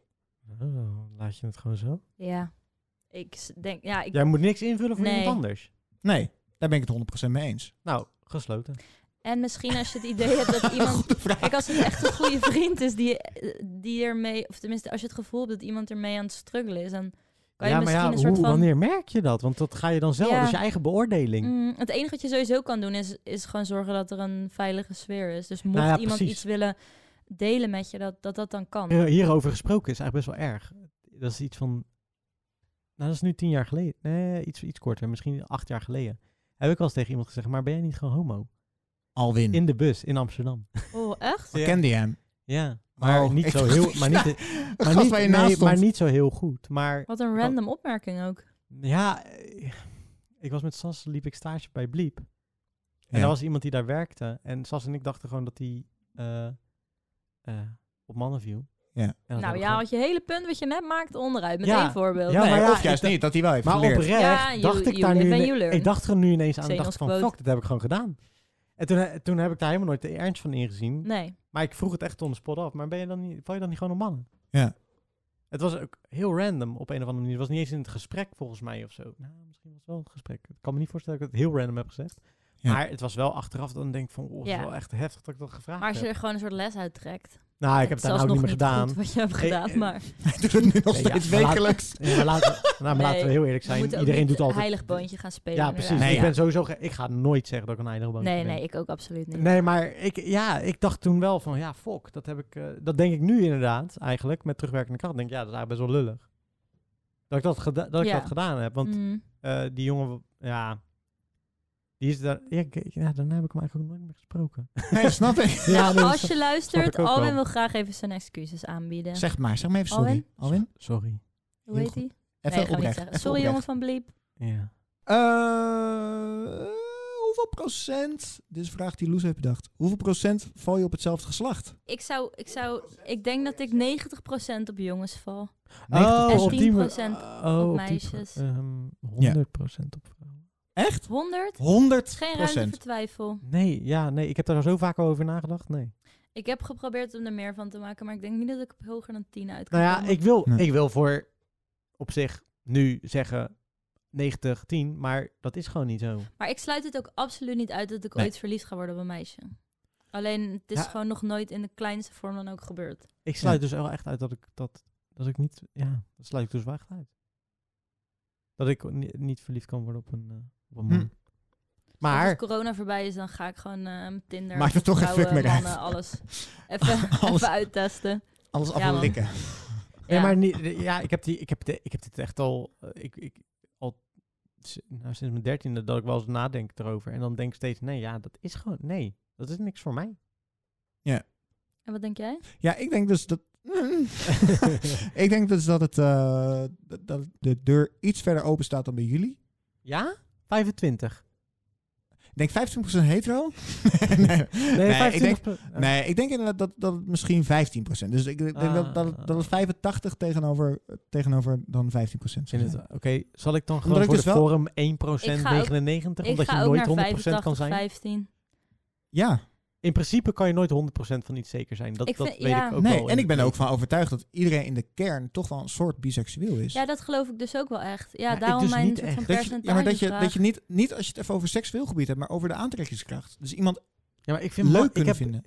Speaker 6: Oh, laat je het gewoon zo?
Speaker 2: Ja. Ik s- denk, ja, ik,
Speaker 6: Jij moet niks invullen voor
Speaker 2: Nee.
Speaker 6: iemand anders.
Speaker 1: Nee, daar ben ik het 100% mee eens.
Speaker 6: Nou, gesloten.
Speaker 2: en misschien als je het idee hebt dat iemand...
Speaker 1: Goede vraag.
Speaker 2: Kijk, als het echt een goede vriend is die, eh, die ermee... Of tenminste, als je het gevoel hebt dat iemand ermee aan het struggelen is, dan kan je
Speaker 6: ja, maar
Speaker 2: misschien
Speaker 6: ja,
Speaker 2: een soort
Speaker 6: hoe,
Speaker 2: van...
Speaker 6: wanneer merk je dat? Want dat ga je dan zelf,
Speaker 2: Ja.
Speaker 6: dat is je eigen beoordeling.
Speaker 2: Mm, het enige wat je sowieso kan doen is, is gewoon zorgen dat er een veilige sfeer is. Dus mocht
Speaker 6: Nou ja,
Speaker 2: iemand
Speaker 6: precies.
Speaker 2: iets willen delen met je, dat dat, dat dan kan.
Speaker 6: Hier- Hierover gesproken is eigenlijk best wel erg. Dat is iets van, nou dat is nu tien jaar geleden. Nee, iets, iets korter, misschien acht jaar geleden. Heb ik wel eens tegen iemand gezegd, maar ben jij niet gewoon homo?
Speaker 1: Alwin.
Speaker 6: In de bus, in Amsterdam.
Speaker 2: Oh, echt?
Speaker 1: Ik kende je hem.
Speaker 6: Ja, maar
Speaker 1: Oh,
Speaker 6: niet
Speaker 1: ik
Speaker 6: zo
Speaker 1: dacht-
Speaker 6: heel, maar
Speaker 1: Ja,
Speaker 6: niet, maar
Speaker 1: gast
Speaker 6: niet,
Speaker 1: waar je
Speaker 6: nee,
Speaker 1: naast stond.
Speaker 6: maar niet zo heel goed. Maar
Speaker 2: Wat een random opmerking ook.
Speaker 6: Ja, eh, ik was met Sas, liep ik stage bij Bliep. En
Speaker 1: Ja.
Speaker 6: er was iemand die daar werkte. En Sas en ik dachten gewoon dat hij eh, op mannen viel.
Speaker 1: Ja.
Speaker 6: En dat
Speaker 2: Nou
Speaker 6: hebben we
Speaker 2: ja,
Speaker 6: gewoon-
Speaker 2: want je hele punt wat je net maakt onderuit. Met
Speaker 6: Ja.
Speaker 2: één voorbeeld.
Speaker 6: Ja,
Speaker 1: Nee,
Speaker 6: maar ja,
Speaker 1: of
Speaker 6: ik
Speaker 1: juist
Speaker 6: dacht-
Speaker 1: niet, dat hij wel heeft
Speaker 6: maar
Speaker 1: geleerd.
Speaker 6: oprecht
Speaker 2: Ja, you-
Speaker 6: dacht ik
Speaker 2: you
Speaker 6: daar nu...
Speaker 2: live and
Speaker 6: ine-
Speaker 2: you learn.
Speaker 6: ik dacht er nu ineens aan. Ik
Speaker 2: Zenos
Speaker 6: dacht van,
Speaker 2: quote.
Speaker 6: fuck, dat heb ik gewoon gedaan. En toen, eh, toen heb ik daar helemaal nooit de ernst van ingezien.
Speaker 2: Nee.
Speaker 6: Maar ik vroeg het echt on the spot af. Maar ben je dan niet, val je dan niet gewoon op mannen?
Speaker 1: Ja.
Speaker 6: Het was ook heel random op een of andere manier. Het was niet eens in het gesprek volgens mij of zo. Nou, misschien was het wel een gesprek. Ik kan me niet voorstellen dat ik het heel random heb gezegd.
Speaker 1: Ja.
Speaker 6: Maar het was wel achteraf dan denk ik van, oh, het is
Speaker 2: Ja.
Speaker 6: wel echt heftig dat ik dat gevraagd
Speaker 2: Maar als je
Speaker 6: heb.
Speaker 2: er gewoon een soort les uit trekt.
Speaker 6: Nou, ik heb het daar nou ook
Speaker 2: nog
Speaker 6: niet meer gedaan.
Speaker 2: goed wat je hebt
Speaker 6: Eh,
Speaker 2: gedaan,
Speaker 6: eh,
Speaker 2: maar...
Speaker 1: Hij doet het nu nog
Speaker 6: Nee, ja,
Speaker 1: steeds
Speaker 6: maar laat-
Speaker 1: wekelijks.
Speaker 6: Ja, maar laten, we- nou, maar
Speaker 2: Nee,
Speaker 6: laten we heel eerlijk
Speaker 2: we
Speaker 6: zijn.
Speaker 2: moeten ook
Speaker 6: Iedereen
Speaker 2: niet
Speaker 6: doet altijd...
Speaker 2: heilig boontje gaan spelen.
Speaker 6: Ja,
Speaker 2: inderdaad.
Speaker 6: precies.
Speaker 1: Nee,
Speaker 6: ik
Speaker 1: ja.
Speaker 6: ben sowieso... ge- Ik ga nooit zeggen dat ik een heilig boontje
Speaker 2: Nee,
Speaker 6: ben.
Speaker 2: nee, ik ook absoluut niet.
Speaker 6: Nee, maar ik, ja, ik dacht toen wel van, ja, fuck, dat heb ik, eh, dat denk ik nu inderdaad eigenlijk, met terugwerkende kracht. Denk ik, ja, dat is eigenlijk best wel lullig. Dat ik dat, geda- dat, ik
Speaker 2: Ja.
Speaker 6: dat gedaan heb, want
Speaker 2: Mm.
Speaker 6: eh, die jongen, ja, die is daar, ja, ik- ik- ja, daarna heb ik hem eigenlijk ook nooit meer gesproken.
Speaker 1: Nee, snap ik.
Speaker 6: ja,
Speaker 2: Nou,
Speaker 6: nee,
Speaker 2: als
Speaker 6: so-
Speaker 2: je luistert,
Speaker 6: ik ook
Speaker 2: Alwin
Speaker 6: wel.
Speaker 2: wil graag even zijn excuses aanbieden.
Speaker 1: Zeg maar, zeg maar even sorry.
Speaker 2: Alwin?
Speaker 1: Alwin?
Speaker 6: Sorry.
Speaker 2: Hoe
Speaker 1: heel
Speaker 2: heet
Speaker 1: goed.
Speaker 2: hij?
Speaker 1: Even
Speaker 2: Nee, gaan we niet
Speaker 1: oprecht.
Speaker 2: zeggen.
Speaker 1: even
Speaker 2: Sorry
Speaker 1: oprecht.
Speaker 2: jongen van Bliep.
Speaker 6: Ja.
Speaker 1: Eh, hoeveel procent, dit is een vraag die Loes heeft bedacht, hoeveel procent val je op hetzelfde geslacht?
Speaker 2: Ik zou, ik zou, ik denk dat ik 90% op jongens val.
Speaker 1: 90%.
Speaker 2: op die- 10%
Speaker 6: oh,
Speaker 2: op
Speaker 6: die-
Speaker 2: meisjes.
Speaker 6: ehm, 100% op vrouwen.
Speaker 1: Echt?
Speaker 2: 100?
Speaker 1: 100
Speaker 2: Is geen ruimte voor
Speaker 1: procent.
Speaker 2: twijfel.
Speaker 6: Nee, ja, nee, ik heb daar zo vaak over nagedacht, nee.
Speaker 2: Ik heb geprobeerd om er meer van te maken, maar ik denk niet dat ik op hoger dan 10 uit kan
Speaker 6: Nou ja,
Speaker 2: komen.
Speaker 6: ik wil,
Speaker 1: Nee.
Speaker 6: ik wil voor op zich nu zeggen 90, 10, maar dat is gewoon niet zo.
Speaker 2: Maar ik sluit het ook absoluut niet uit dat ik
Speaker 1: Nee.
Speaker 2: ooit verliefd ga worden op een meisje. Alleen, het is
Speaker 6: Ja.
Speaker 2: gewoon nog nooit in de kleinste vorm dan ook gebeurd.
Speaker 6: Ik sluit
Speaker 1: Ja.
Speaker 6: dus wel echt uit dat ik dat, dat ik niet, ja, dat sluit ik dus wel echt uit. Dat ik ni- niet verliefd kan worden op een, eh, op een
Speaker 1: Hm.
Speaker 6: man.
Speaker 2: Dus als
Speaker 6: Maar,
Speaker 2: corona voorbij is, dan ga ik gewoon eh, met Tinder,
Speaker 1: Maakt het toch geen
Speaker 2: vrouwen,
Speaker 1: fuck meer uit.
Speaker 2: mannen, alles. Even,
Speaker 1: Alles.
Speaker 2: even uittesten.
Speaker 1: Alles af
Speaker 2: Ja,
Speaker 1: en
Speaker 2: man.
Speaker 1: likken.
Speaker 6: nee,
Speaker 2: Ja.
Speaker 6: maar niet, ja, ik heb, die, ik, heb de, ik heb dit echt al, eh, ik, ik, al s- nou, sinds mijn dertiende dat ik wel eens nadenk erover. En dan denk ik steeds, nee, ja, dat is gewoon, nee, dat is niks voor mij.
Speaker 2: En wat denk jij?
Speaker 1: Ja, ik denk dus dat... ik denk dus dat, het, eh, dat- dat de deur iets verder open staat dan bij jullie.
Speaker 6: Ja? 25.
Speaker 1: Ik denk 25% hetero. nee,
Speaker 6: Nee,
Speaker 1: ik
Speaker 6: 25
Speaker 1: denk-
Speaker 6: pro-
Speaker 1: nee, ik denk inderdaad dat, dat het misschien 15%. Dus ik denk dat, dat, het- dat het 85 tegenover, tegenover dan 15%
Speaker 6: Ik
Speaker 1: is.
Speaker 6: vind het- Oké, zal ik dan
Speaker 1: Omdat
Speaker 6: gewoon
Speaker 1: ik
Speaker 6: voor
Speaker 1: dus
Speaker 6: de
Speaker 1: wel-
Speaker 6: forum 1%
Speaker 2: Ik ga ook-
Speaker 6: 99?
Speaker 2: Ik
Speaker 6: omdat je
Speaker 2: ga ook
Speaker 6: nooit
Speaker 2: naar
Speaker 6: 100% kan
Speaker 2: 85,
Speaker 6: zijn?
Speaker 2: 15.
Speaker 1: Ja,
Speaker 6: In principe kan je nooit 100% van iets zeker zijn. Dat,
Speaker 2: Ik
Speaker 6: dat
Speaker 2: vind-
Speaker 6: weet
Speaker 2: ja.
Speaker 6: ik ook
Speaker 1: nee,
Speaker 6: wel.
Speaker 1: en ik ben er ook van overtuigd dat iedereen in de kern toch wel een soort biseksueel is.
Speaker 2: Ja, dat geloof ik dus ook wel echt. Ja,
Speaker 6: Ja, ik
Speaker 2: daarom
Speaker 6: dus
Speaker 2: mijn
Speaker 6: niet
Speaker 2: soort van
Speaker 1: dat
Speaker 6: echt.
Speaker 1: je,
Speaker 2: percentage
Speaker 1: ja, maar dat je, dat je niet, niet als je het even over seksueel gebied hebt, maar over de aantrekkingskracht. Dus iemand
Speaker 6: Ja, maar ik vind
Speaker 1: leuk
Speaker 6: ma- ik
Speaker 1: kunnen
Speaker 6: heb-
Speaker 1: vinden.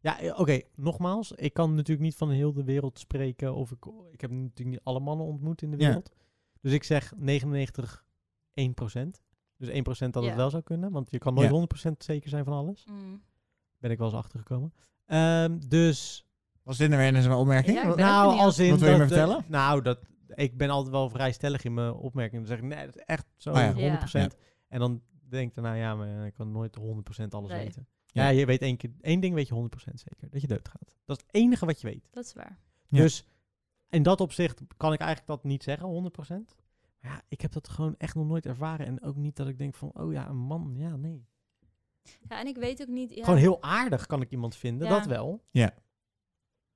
Speaker 6: Ja, eh, oké, nogmaals. Ik kan natuurlijk niet van heel de wereld spreken. Of ik, ik heb natuurlijk niet alle mannen ontmoet in de
Speaker 1: Ja.
Speaker 6: wereld. Dus ik zeg 99, 1%. Dus 1% dat
Speaker 2: Ja.
Speaker 6: het wel zou kunnen. Want je kan nooit
Speaker 1: Ja.
Speaker 6: 100% zeker zijn van alles.
Speaker 2: Mm.
Speaker 6: Ben ik wel eens achtergekomen. Ehm, dus,
Speaker 1: Was dit nou weer eens een opmerking?
Speaker 2: Ja, ik ben- echt
Speaker 6: nou,
Speaker 2: benieuwd.
Speaker 6: als in...
Speaker 1: Wat wil je
Speaker 6: dat-
Speaker 1: me
Speaker 6: dat-
Speaker 1: vertellen?
Speaker 6: Nou, dat, ik ben altijd wel vrij stellig in mijn opmerkingen. Dan zeg ik, nee, dat is echt zo
Speaker 1: Oh ja. Ja.
Speaker 6: 100%. En dan denk ik daarna, ja, maar ik kan nooit 100% alles
Speaker 2: Nee.
Speaker 6: weten.
Speaker 1: Ja.
Speaker 6: Ja, je weet één, keer, één ding weet je 100% zeker. Dat je dood gaat. Dat is het enige wat je weet.
Speaker 2: Dat is waar.
Speaker 1: Ja.
Speaker 6: Dus in dat opzicht kan ik eigenlijk dat niet zeggen, 100%. Maar ja, ik heb dat gewoon echt nog nooit ervaren. En ook niet dat ik denk van, oh ja, een man, ja, nee.
Speaker 2: Ja, en ik weet ook niet... Ja,
Speaker 6: Gewoon heel aardig kan ik iemand vinden,
Speaker 2: Ja.
Speaker 6: dat wel.
Speaker 1: Ja.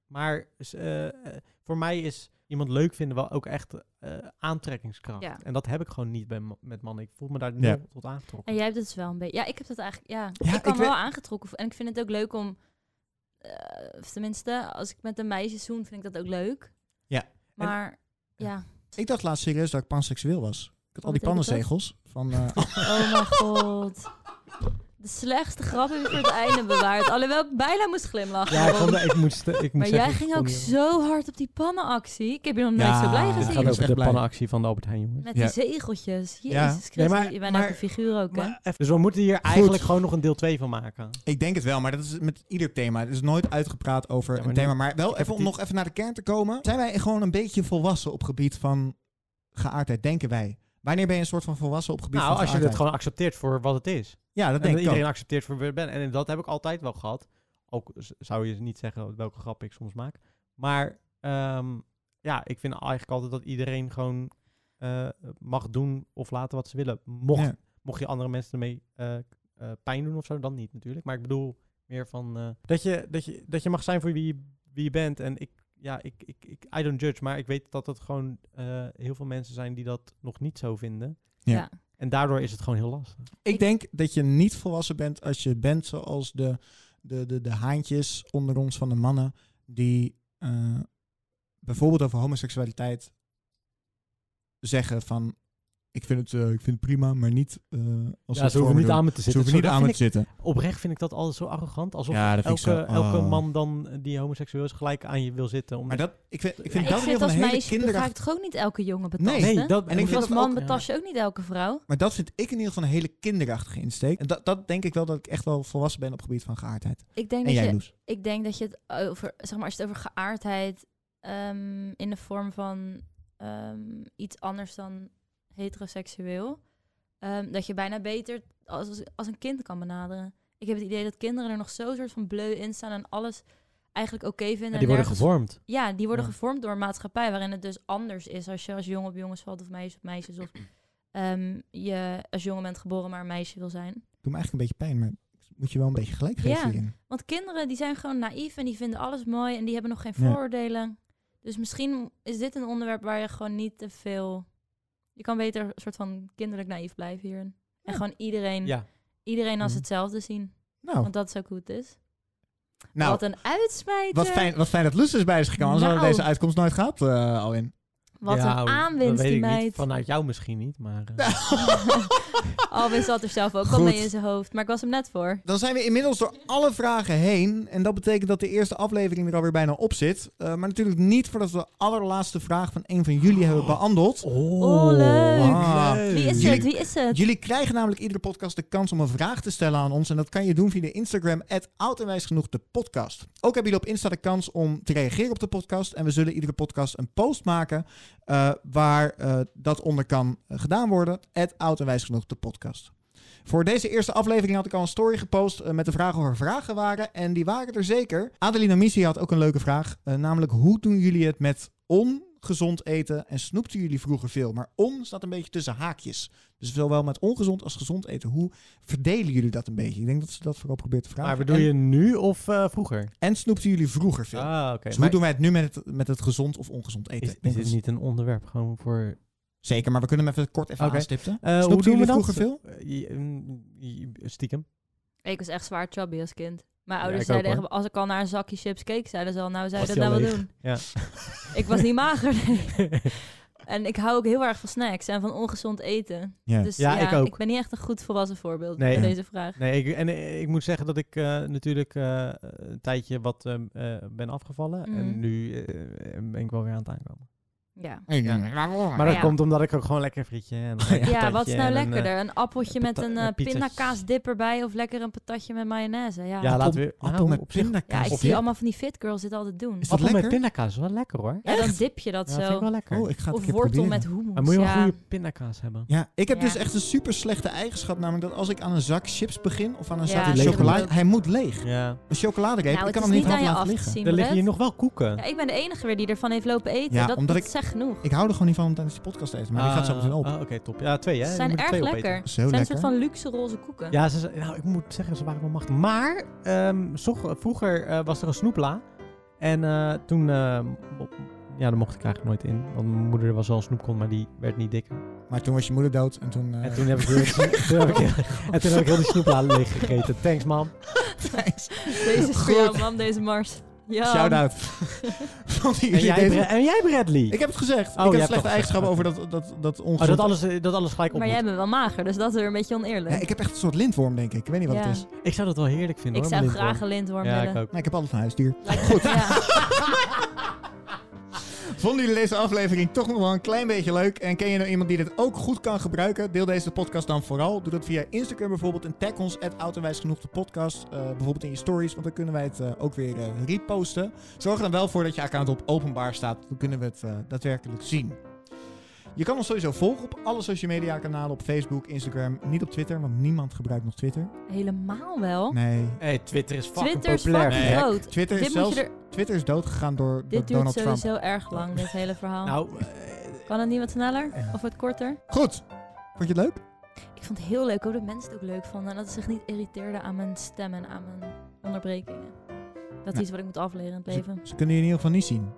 Speaker 6: Maar s- eh, eh, voor mij is iemand leuk vinden wel ook echt eh, aantrekkingskracht.
Speaker 2: Ja.
Speaker 6: En dat heb ik gewoon niet bij ma- met mannen. Ik voel me daar nul
Speaker 1: Ja.
Speaker 6: tot aangetrokken.
Speaker 2: En jij hebt het dus wel een beetje... Ja, ik heb dat eigenlijk... Ja,
Speaker 1: Ja,
Speaker 2: ik kan
Speaker 1: ik
Speaker 2: me wel
Speaker 1: weet-
Speaker 2: aangetrokken voelen. En ik vind het ook leuk om... eh, of tenminste, als ik met een meisje zoen, vind ik dat ook leuk.
Speaker 1: Ja.
Speaker 2: Maar, ja.
Speaker 1: Ik dacht laatst serieus dat ik panseksueel was. Ik had al
Speaker 2: Wat
Speaker 1: die
Speaker 2: betekent dat?
Speaker 1: pannenzegels. Van, eh,
Speaker 2: Oh mijn god. De slechtste grap heb je voor het einde bewaard. Alhoewel ik bijna moest glimlachen.
Speaker 6: Ja, ik, vond- ik moest, ik moet
Speaker 2: maar
Speaker 6: zeggen,
Speaker 2: jij
Speaker 6: ik
Speaker 2: ging
Speaker 6: vond
Speaker 2: ook
Speaker 6: die-
Speaker 2: zo hard op die pannenactie. Ik heb je nog nooit
Speaker 1: Ja,
Speaker 2: zo blij
Speaker 1: dit
Speaker 6: Dit
Speaker 2: gezien.
Speaker 6: gaat
Speaker 1: was
Speaker 6: over
Speaker 1: echt
Speaker 6: de
Speaker 1: blij.
Speaker 6: pannenactie van de Albert Heijn, jongens.
Speaker 2: Met
Speaker 1: Ja.
Speaker 2: die zegeltjes. Jezus
Speaker 1: Ja.
Speaker 2: Christus,
Speaker 6: Nee, maar-
Speaker 2: je bent
Speaker 6: maar-
Speaker 2: ook een figuur ook, hè?
Speaker 6: Maar even- Nou, dus we moeten hier eigenlijk gewoon nog een deel 2 van maken.
Speaker 1: ik denk het wel, maar dat is met ieder thema. Het is nooit uitgepraat over
Speaker 6: Ja, maar
Speaker 1: een
Speaker 6: nu-
Speaker 1: thema. Maar wel
Speaker 6: heb
Speaker 1: even om
Speaker 6: die-
Speaker 1: nog even naar de kern te komen. Zijn wij gewoon een beetje volwassen op gebied van geaardheid? Denken wij? Wanneer ben je een soort van volwassen op gebied
Speaker 6: Nou,
Speaker 1: van
Speaker 6: als je het
Speaker 1: geaardheid?
Speaker 6: gewoon accepteert voor wat het is.
Speaker 1: Ja, dat
Speaker 6: en
Speaker 1: denk
Speaker 6: dat
Speaker 1: ik ook.
Speaker 6: iedereen accepteert voor wie ik ben. En dat heb ik altijd wel gehad. Ook z- zou je niet zeggen welke grap ik soms maak. Maar ehm, ja, ik vind eigenlijk altijd dat iedereen gewoon eh, mag doen of laten wat ze willen. Mocht,
Speaker 1: Ja.
Speaker 6: mocht je andere mensen ermee eh, k- eh, pijn doen of zo, dan niet natuurlijk. Maar ik bedoel meer van eh, dat, je, dat, je, dat je mag zijn voor wie je, wie je bent. En ik, ja, ik, ik, ik, I don't judge, maar ik weet dat dat gewoon eh, heel veel mensen zijn die dat nog niet zo vinden.
Speaker 1: Ja.
Speaker 2: Ja.
Speaker 6: En daardoor is het gewoon heel lastig.
Speaker 1: Ik denk dat je niet volwassen bent als je bent zoals de, de, de, de haantjes onder ons van de mannen. Die eh, bijvoorbeeld over homoseksualiteit zeggen van... Ik vind het, eh, ik vind het prima, maar niet eh als
Speaker 6: ja, ze hoeven niet aan me te
Speaker 1: Ze
Speaker 6: zitten.
Speaker 1: hoeven niet
Speaker 6: Zo, dat
Speaker 1: aan me te
Speaker 6: vind
Speaker 1: zitten.
Speaker 6: ik- Oprecht vind ik dat altijd zo arrogant. Alsof
Speaker 1: Ja, ah. dat
Speaker 6: elke, elke
Speaker 2: Oh.
Speaker 6: man dan eh, die homoseksueel is gelijk aan je wil zitten. Om
Speaker 1: Maar dat, ik vind, ik
Speaker 6: Ja,
Speaker 1: vind
Speaker 2: Maar ik
Speaker 1: dat
Speaker 2: vind
Speaker 1: heel een
Speaker 2: als
Speaker 1: hele
Speaker 2: meisje ga ik
Speaker 1: kinderachtige...
Speaker 2: toch ook niet elke jongen betasten?
Speaker 1: Nee,
Speaker 6: dat,
Speaker 1: en ik
Speaker 2: Of
Speaker 1: vind
Speaker 2: als
Speaker 1: dat
Speaker 2: man
Speaker 1: ook-
Speaker 2: betas je ook niet elke vrouw.
Speaker 1: Maar dat vind ik in ieder geval een hele kinderachtige insteek. En dat, dat denk ik wel dat ik echt wel volwassen ben op het gebied van geaardheid.
Speaker 2: Ik
Speaker 1: En
Speaker 2: denk, dat
Speaker 1: jij,
Speaker 2: je,
Speaker 1: Loes?
Speaker 2: ik denk dat je het over, zeg maar, als je het over geaardheid ehm, in de vorm van ehm, iets anders dan heteroseksueel, ehm, dat je bijna beter als, als, als een kind kan benaderen. Ik heb het idee dat kinderen er nog zo soort van bleu in staan en alles eigenlijk oké vinden.
Speaker 6: Ja,
Speaker 2: en
Speaker 6: die worden
Speaker 2: nergens-
Speaker 6: gevormd.
Speaker 2: Ja, die worden
Speaker 1: Ja.
Speaker 2: gevormd door een maatschappij waarin het dus anders is als je als jongen op jongens valt of meisjes op meisjes of ehm, je als jongen bent geboren maar een meisje wil zijn.
Speaker 1: Doe me eigenlijk een beetje pijn, maar ik moet je wel een beetje gelijk geven
Speaker 2: Ja.
Speaker 1: hierin.
Speaker 2: Want kinderen die zijn gewoon naïef en die vinden alles mooi en die hebben nog geen
Speaker 1: Ja.
Speaker 2: vooroordelen. Dus misschien is dit een onderwerp waar je gewoon niet te veel. Je kan beter een soort van kinderlijk naïef blijven hierin. En gewoon iedereen,
Speaker 6: Ja.
Speaker 2: iedereen als
Speaker 1: Mhm.
Speaker 2: hetzelfde zien.
Speaker 1: Nou,
Speaker 2: Want dat is ook hoe het is.
Speaker 1: nou
Speaker 2: Wat een uitsmijter.
Speaker 1: Wat fijn, wat fijn dat Lus is bij is gekomen. Anders hadden we
Speaker 2: Nou.
Speaker 1: deze uitkomst nooit gehad, eh Alwin.
Speaker 2: Wat
Speaker 6: Ja,
Speaker 2: een
Speaker 6: nou, dat
Speaker 2: aanwinst
Speaker 6: weet
Speaker 2: die
Speaker 6: ik niet.
Speaker 2: meid.
Speaker 6: Vanuit jou misschien niet, maar... eh,
Speaker 2: Alwin zat er zelf ook al
Speaker 1: Goed.
Speaker 2: mee in zijn hoofd. Maar ik was hem net voor.
Speaker 1: Dan zijn we inmiddels door alle vragen heen. En dat betekent dat de eerste aflevering er alweer bijna op zit. Eh, maar natuurlijk niet voordat we de allerlaatste vraag van een van jullie hebben behandeld.
Speaker 2: Oh, leuk.
Speaker 1: Ah.
Speaker 2: Wie is
Speaker 1: Jullie-
Speaker 2: het? Wie is het?
Speaker 1: Jullie krijgen namelijk iedere podcast de kans om een vraag te stellen aan ons. En dat kan je doen via de Instagram, oud en wijs genoeg, de podcast. Ook hebben jullie op Insta de kans om te reageren op de podcast. En we zullen iedere podcast een post maken eh, waar eh, dat onder kan eh, gedaan worden. oud en wijs genoeg, de podcast. Voor deze eerste aflevering had ik al een story gepost eh, met de vraag of er vragen waren. En die waren er zeker. Adelina Missie had ook een leuke vraag. eh, namelijk, hoe doen jullie het met on gezond eten. En snoepten jullie vroeger veel. Maar on staat een beetje tussen haakjes. Dus zowel met ongezond als gezond eten. Hoe verdelen jullie dat een beetje? Ik denk dat ze dat vooral probeert te vragen.
Speaker 6: Maar bedoel
Speaker 1: en,
Speaker 6: je nu of eh, vroeger?
Speaker 1: en snoepten jullie vroeger veel.
Speaker 6: Ah, oké.
Speaker 1: dus hoe
Speaker 6: Maar
Speaker 1: doen wij het nu met het, met het gezond of ongezond eten?
Speaker 6: is,
Speaker 1: Ik denk
Speaker 6: is dit
Speaker 1: dat-
Speaker 6: niet een onderwerp gewoon voor...
Speaker 1: Zeker, maar we kunnen hem even kort even
Speaker 6: Oké.
Speaker 1: aanstipten.
Speaker 6: Eh, hoe
Speaker 1: Snoepten
Speaker 6: doen we
Speaker 1: jullie vroeger
Speaker 6: dat?
Speaker 1: veel?
Speaker 6: Eh, je- mm, je- Stiekem.
Speaker 2: Ik was echt zwaar chubby als kind. Mijn
Speaker 6: Ja,
Speaker 2: ouders
Speaker 6: ik ook,
Speaker 2: zeiden
Speaker 6: hoor.
Speaker 2: echt, als ik al naar een zakje chips keek, zeiden ze al, nou zou je
Speaker 6: Was
Speaker 2: dat
Speaker 6: die
Speaker 2: nou
Speaker 6: al
Speaker 2: wel
Speaker 6: leeg?
Speaker 2: doen.
Speaker 6: Ja.
Speaker 2: Ik was niet mager. nee. en ik hou ook heel erg van snacks en van ongezond eten.
Speaker 1: Ja.
Speaker 2: Dus
Speaker 6: Ja,
Speaker 2: ja,
Speaker 6: ik ook.
Speaker 2: ik ben niet echt een goed volwassen voorbeeld
Speaker 6: Nee.
Speaker 2: in
Speaker 6: Ja.
Speaker 2: deze vraag.
Speaker 6: Nee, ik, en eh, ik moet zeggen dat ik eh, natuurlijk eh, een tijdje wat ehm, eh, ben afgevallen. En
Speaker 2: Mhm.
Speaker 6: nu eh, ben ik wel weer aan het aankomen.
Speaker 2: Ja.
Speaker 6: Ja. Maar
Speaker 1: Maar
Speaker 6: dat
Speaker 2: Ja.
Speaker 6: komt omdat ik ook gewoon lekker frietje en een
Speaker 2: Ja,
Speaker 6: patatje
Speaker 2: wat is nou
Speaker 6: en een, eh,
Speaker 2: lekkerder? Een appeltje met
Speaker 6: pata-
Speaker 2: een
Speaker 6: eh,
Speaker 2: eh
Speaker 6: pizza's.
Speaker 2: pindakaasdip erbij of lekker een patatje met mayonaise? Ja,
Speaker 6: eh,
Speaker 2: ja,
Speaker 6: ja, laten we...
Speaker 1: appel
Speaker 6: nou,
Speaker 1: met
Speaker 6: op zich-
Speaker 1: pindakaas.
Speaker 2: ik
Speaker 1: op
Speaker 2: zie
Speaker 1: je-
Speaker 2: allemaal van die fit girls dit altijd doen.
Speaker 1: Is dat
Speaker 6: Appel met
Speaker 1: lekker?
Speaker 6: pindakaas is wel lekker hoor.
Speaker 2: Ja, dan dip je dat
Speaker 6: Ja, vind ik
Speaker 2: zo.
Speaker 6: wel lekker.
Speaker 1: Oh, ik ga het
Speaker 2: Of
Speaker 1: een keer
Speaker 2: wortel
Speaker 1: proberen.
Speaker 2: met hummus.
Speaker 6: maar moet je wel
Speaker 2: ja.
Speaker 6: goede pindakaas hebben.
Speaker 1: Ja, ik heb
Speaker 2: Ja.
Speaker 1: dus echt een super slechte eigenschap. Namelijk dat als ik aan een zak chips begin of aan een
Speaker 2: Ja,
Speaker 1: zak
Speaker 2: Die leeg
Speaker 1: chocolade,
Speaker 2: moet.
Speaker 1: hij moet leeg.
Speaker 6: Ja.
Speaker 1: Een chocoladereep,
Speaker 2: Nou,
Speaker 1: ik kan
Speaker 2: het is
Speaker 1: hem niet
Speaker 2: niet aan
Speaker 1: half
Speaker 2: je af
Speaker 1: laten
Speaker 2: te
Speaker 1: liggen.
Speaker 2: zien,
Speaker 6: Er
Speaker 2: Brett.
Speaker 6: liggen hier nog wel koeken.
Speaker 2: Ja, ik ben de enige weer die ervan heeft lopen eten.
Speaker 1: Ja,
Speaker 2: dat
Speaker 1: omdat
Speaker 2: dat
Speaker 1: ik-
Speaker 2: zegt genoeg.
Speaker 1: Ik hou er gewoon niet van om tijdens die podcast te eten, maar die gaat zo meteen
Speaker 6: Ah,
Speaker 1: open.
Speaker 6: ah, Oké, top. Ja, twee hè.
Speaker 2: Ze
Speaker 6: Je
Speaker 2: zijn
Speaker 6: moet er
Speaker 2: erg
Speaker 6: twee opeten.
Speaker 2: lekker. Het
Speaker 1: Zo
Speaker 2: zijn een
Speaker 1: lekker.
Speaker 2: soort van luxe roze koeken.
Speaker 6: Ja, ze, ze- nou, ik moet zeggen, ze waren wel machtig. Maar ehm, zo- vroeger eh, was er een snoepla. En eh, toen... eh, op- ja, daar mocht ik eigenlijk nooit in. Want mijn moeder was wel een snoepkont, maar die werd niet dikker.
Speaker 1: Maar toen was je moeder dood en toen... eh,
Speaker 6: En toen heb ik, heel, toen heb ik, en toen heb ik heel die snoepla leeg gegeten. Thanks, mam.
Speaker 2: Deze is voor jou, man, deze Mars. Ja.
Speaker 1: Shout-out. Van die-
Speaker 6: En jij,
Speaker 1: deze-
Speaker 6: Bre- en jij Bradley.
Speaker 1: Ik heb het gezegd. ik
Speaker 6: je hebt
Speaker 1: heb
Speaker 6: het
Speaker 1: slechte
Speaker 6: al
Speaker 1: eigenschappen over
Speaker 6: gezegd,
Speaker 1: dat, dat, dat
Speaker 6: oh,
Speaker 1: ongezond.
Speaker 6: dat alles, eh, dat alles gelijk op
Speaker 2: Maar
Speaker 6: moet.
Speaker 2: jij bent wel mager, dus dat is weer een beetje oneerlijk.
Speaker 1: Ja, ik heb echt een soort lintworm, denk ik. Ik weet niet wat
Speaker 2: Ja.
Speaker 1: het is.
Speaker 6: Ik zou dat wel heerlijk vinden.
Speaker 2: Ik
Speaker 6: hoor,
Speaker 2: zou
Speaker 6: met lintworm.
Speaker 2: graag een lintworm
Speaker 6: Ja, ik
Speaker 2: willen.
Speaker 6: ook.
Speaker 1: Maar ik heb altijd een huisdier.
Speaker 2: Goed. Ja.
Speaker 1: Vonden jullie deze aflevering toch nog wel een klein beetje leuk? En ken je nou iemand die dit ook goed kan gebruiken? Deel deze podcast dan vooral. Doe dat via Instagram bijvoorbeeld en tag ons @ouderwijs genoeg de podcast. eh, bijvoorbeeld in je stories, want dan kunnen wij het eh, ook weer eh, reposten. Zorg er dan wel voor dat je account op openbaar staat. Dan kunnen we het eh, daadwerkelijk zien. Je kan ons sowieso volgen op alle social media kanalen. Op Facebook, Instagram, niet op Twitter, want niemand gebruikt nog Twitter.
Speaker 2: Helemaal wel.
Speaker 1: Nee.
Speaker 6: Hey, Twitter is fucking
Speaker 2: Twitter is
Speaker 6: populair.
Speaker 2: fucking
Speaker 6: gek.
Speaker 2: groot.
Speaker 1: Twitter is,
Speaker 2: Dit, moet
Speaker 1: zelfs,
Speaker 2: je er,
Speaker 1: Twitter is doodgegaan door, door
Speaker 2: dit duurt
Speaker 1: Donald Trump.
Speaker 2: sowieso erg lang, dit hele verhaal.
Speaker 6: Nou, eh,
Speaker 2: Kan het niet wat sneller? Of wat korter?
Speaker 1: Goed. Vond je het leuk?
Speaker 2: Ik vond het heel leuk. Ik hoop dat mensen het ook leuk vonden. En dat ze zich niet irriteerden aan mijn stem en aan mijn onderbrekingen. Dat is
Speaker 1: Nee.
Speaker 2: iets wat ik moet afleren in het leven.
Speaker 1: Ze kunnen je in ieder geval niet zien.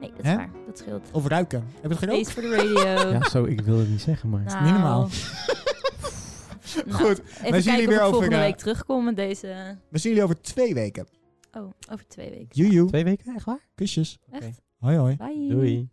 Speaker 2: Nee, dat is
Speaker 1: Hè?
Speaker 2: waar. Dat scheelt.
Speaker 1: Of ruiken. Heb je het gedaan?
Speaker 2: Ace voor de radio.
Speaker 6: ja, zo, ik wil het niet zeggen, maar...
Speaker 2: Nou,
Speaker 1: Niet normaal.
Speaker 2: nou,
Speaker 1: Goed,
Speaker 2: Even
Speaker 1: jullie
Speaker 2: kijken of
Speaker 1: weer
Speaker 2: ik
Speaker 1: over,
Speaker 2: volgende
Speaker 1: eh,
Speaker 2: week terugkom met deze...
Speaker 1: we zien jullie over twee weken.
Speaker 2: Oh, over twee weken.
Speaker 1: Joejoe.
Speaker 6: Twee weken, echt waar?
Speaker 1: Kusjes.
Speaker 2: Echt?
Speaker 1: Hoi hoi.
Speaker 2: Bye.
Speaker 6: Doei.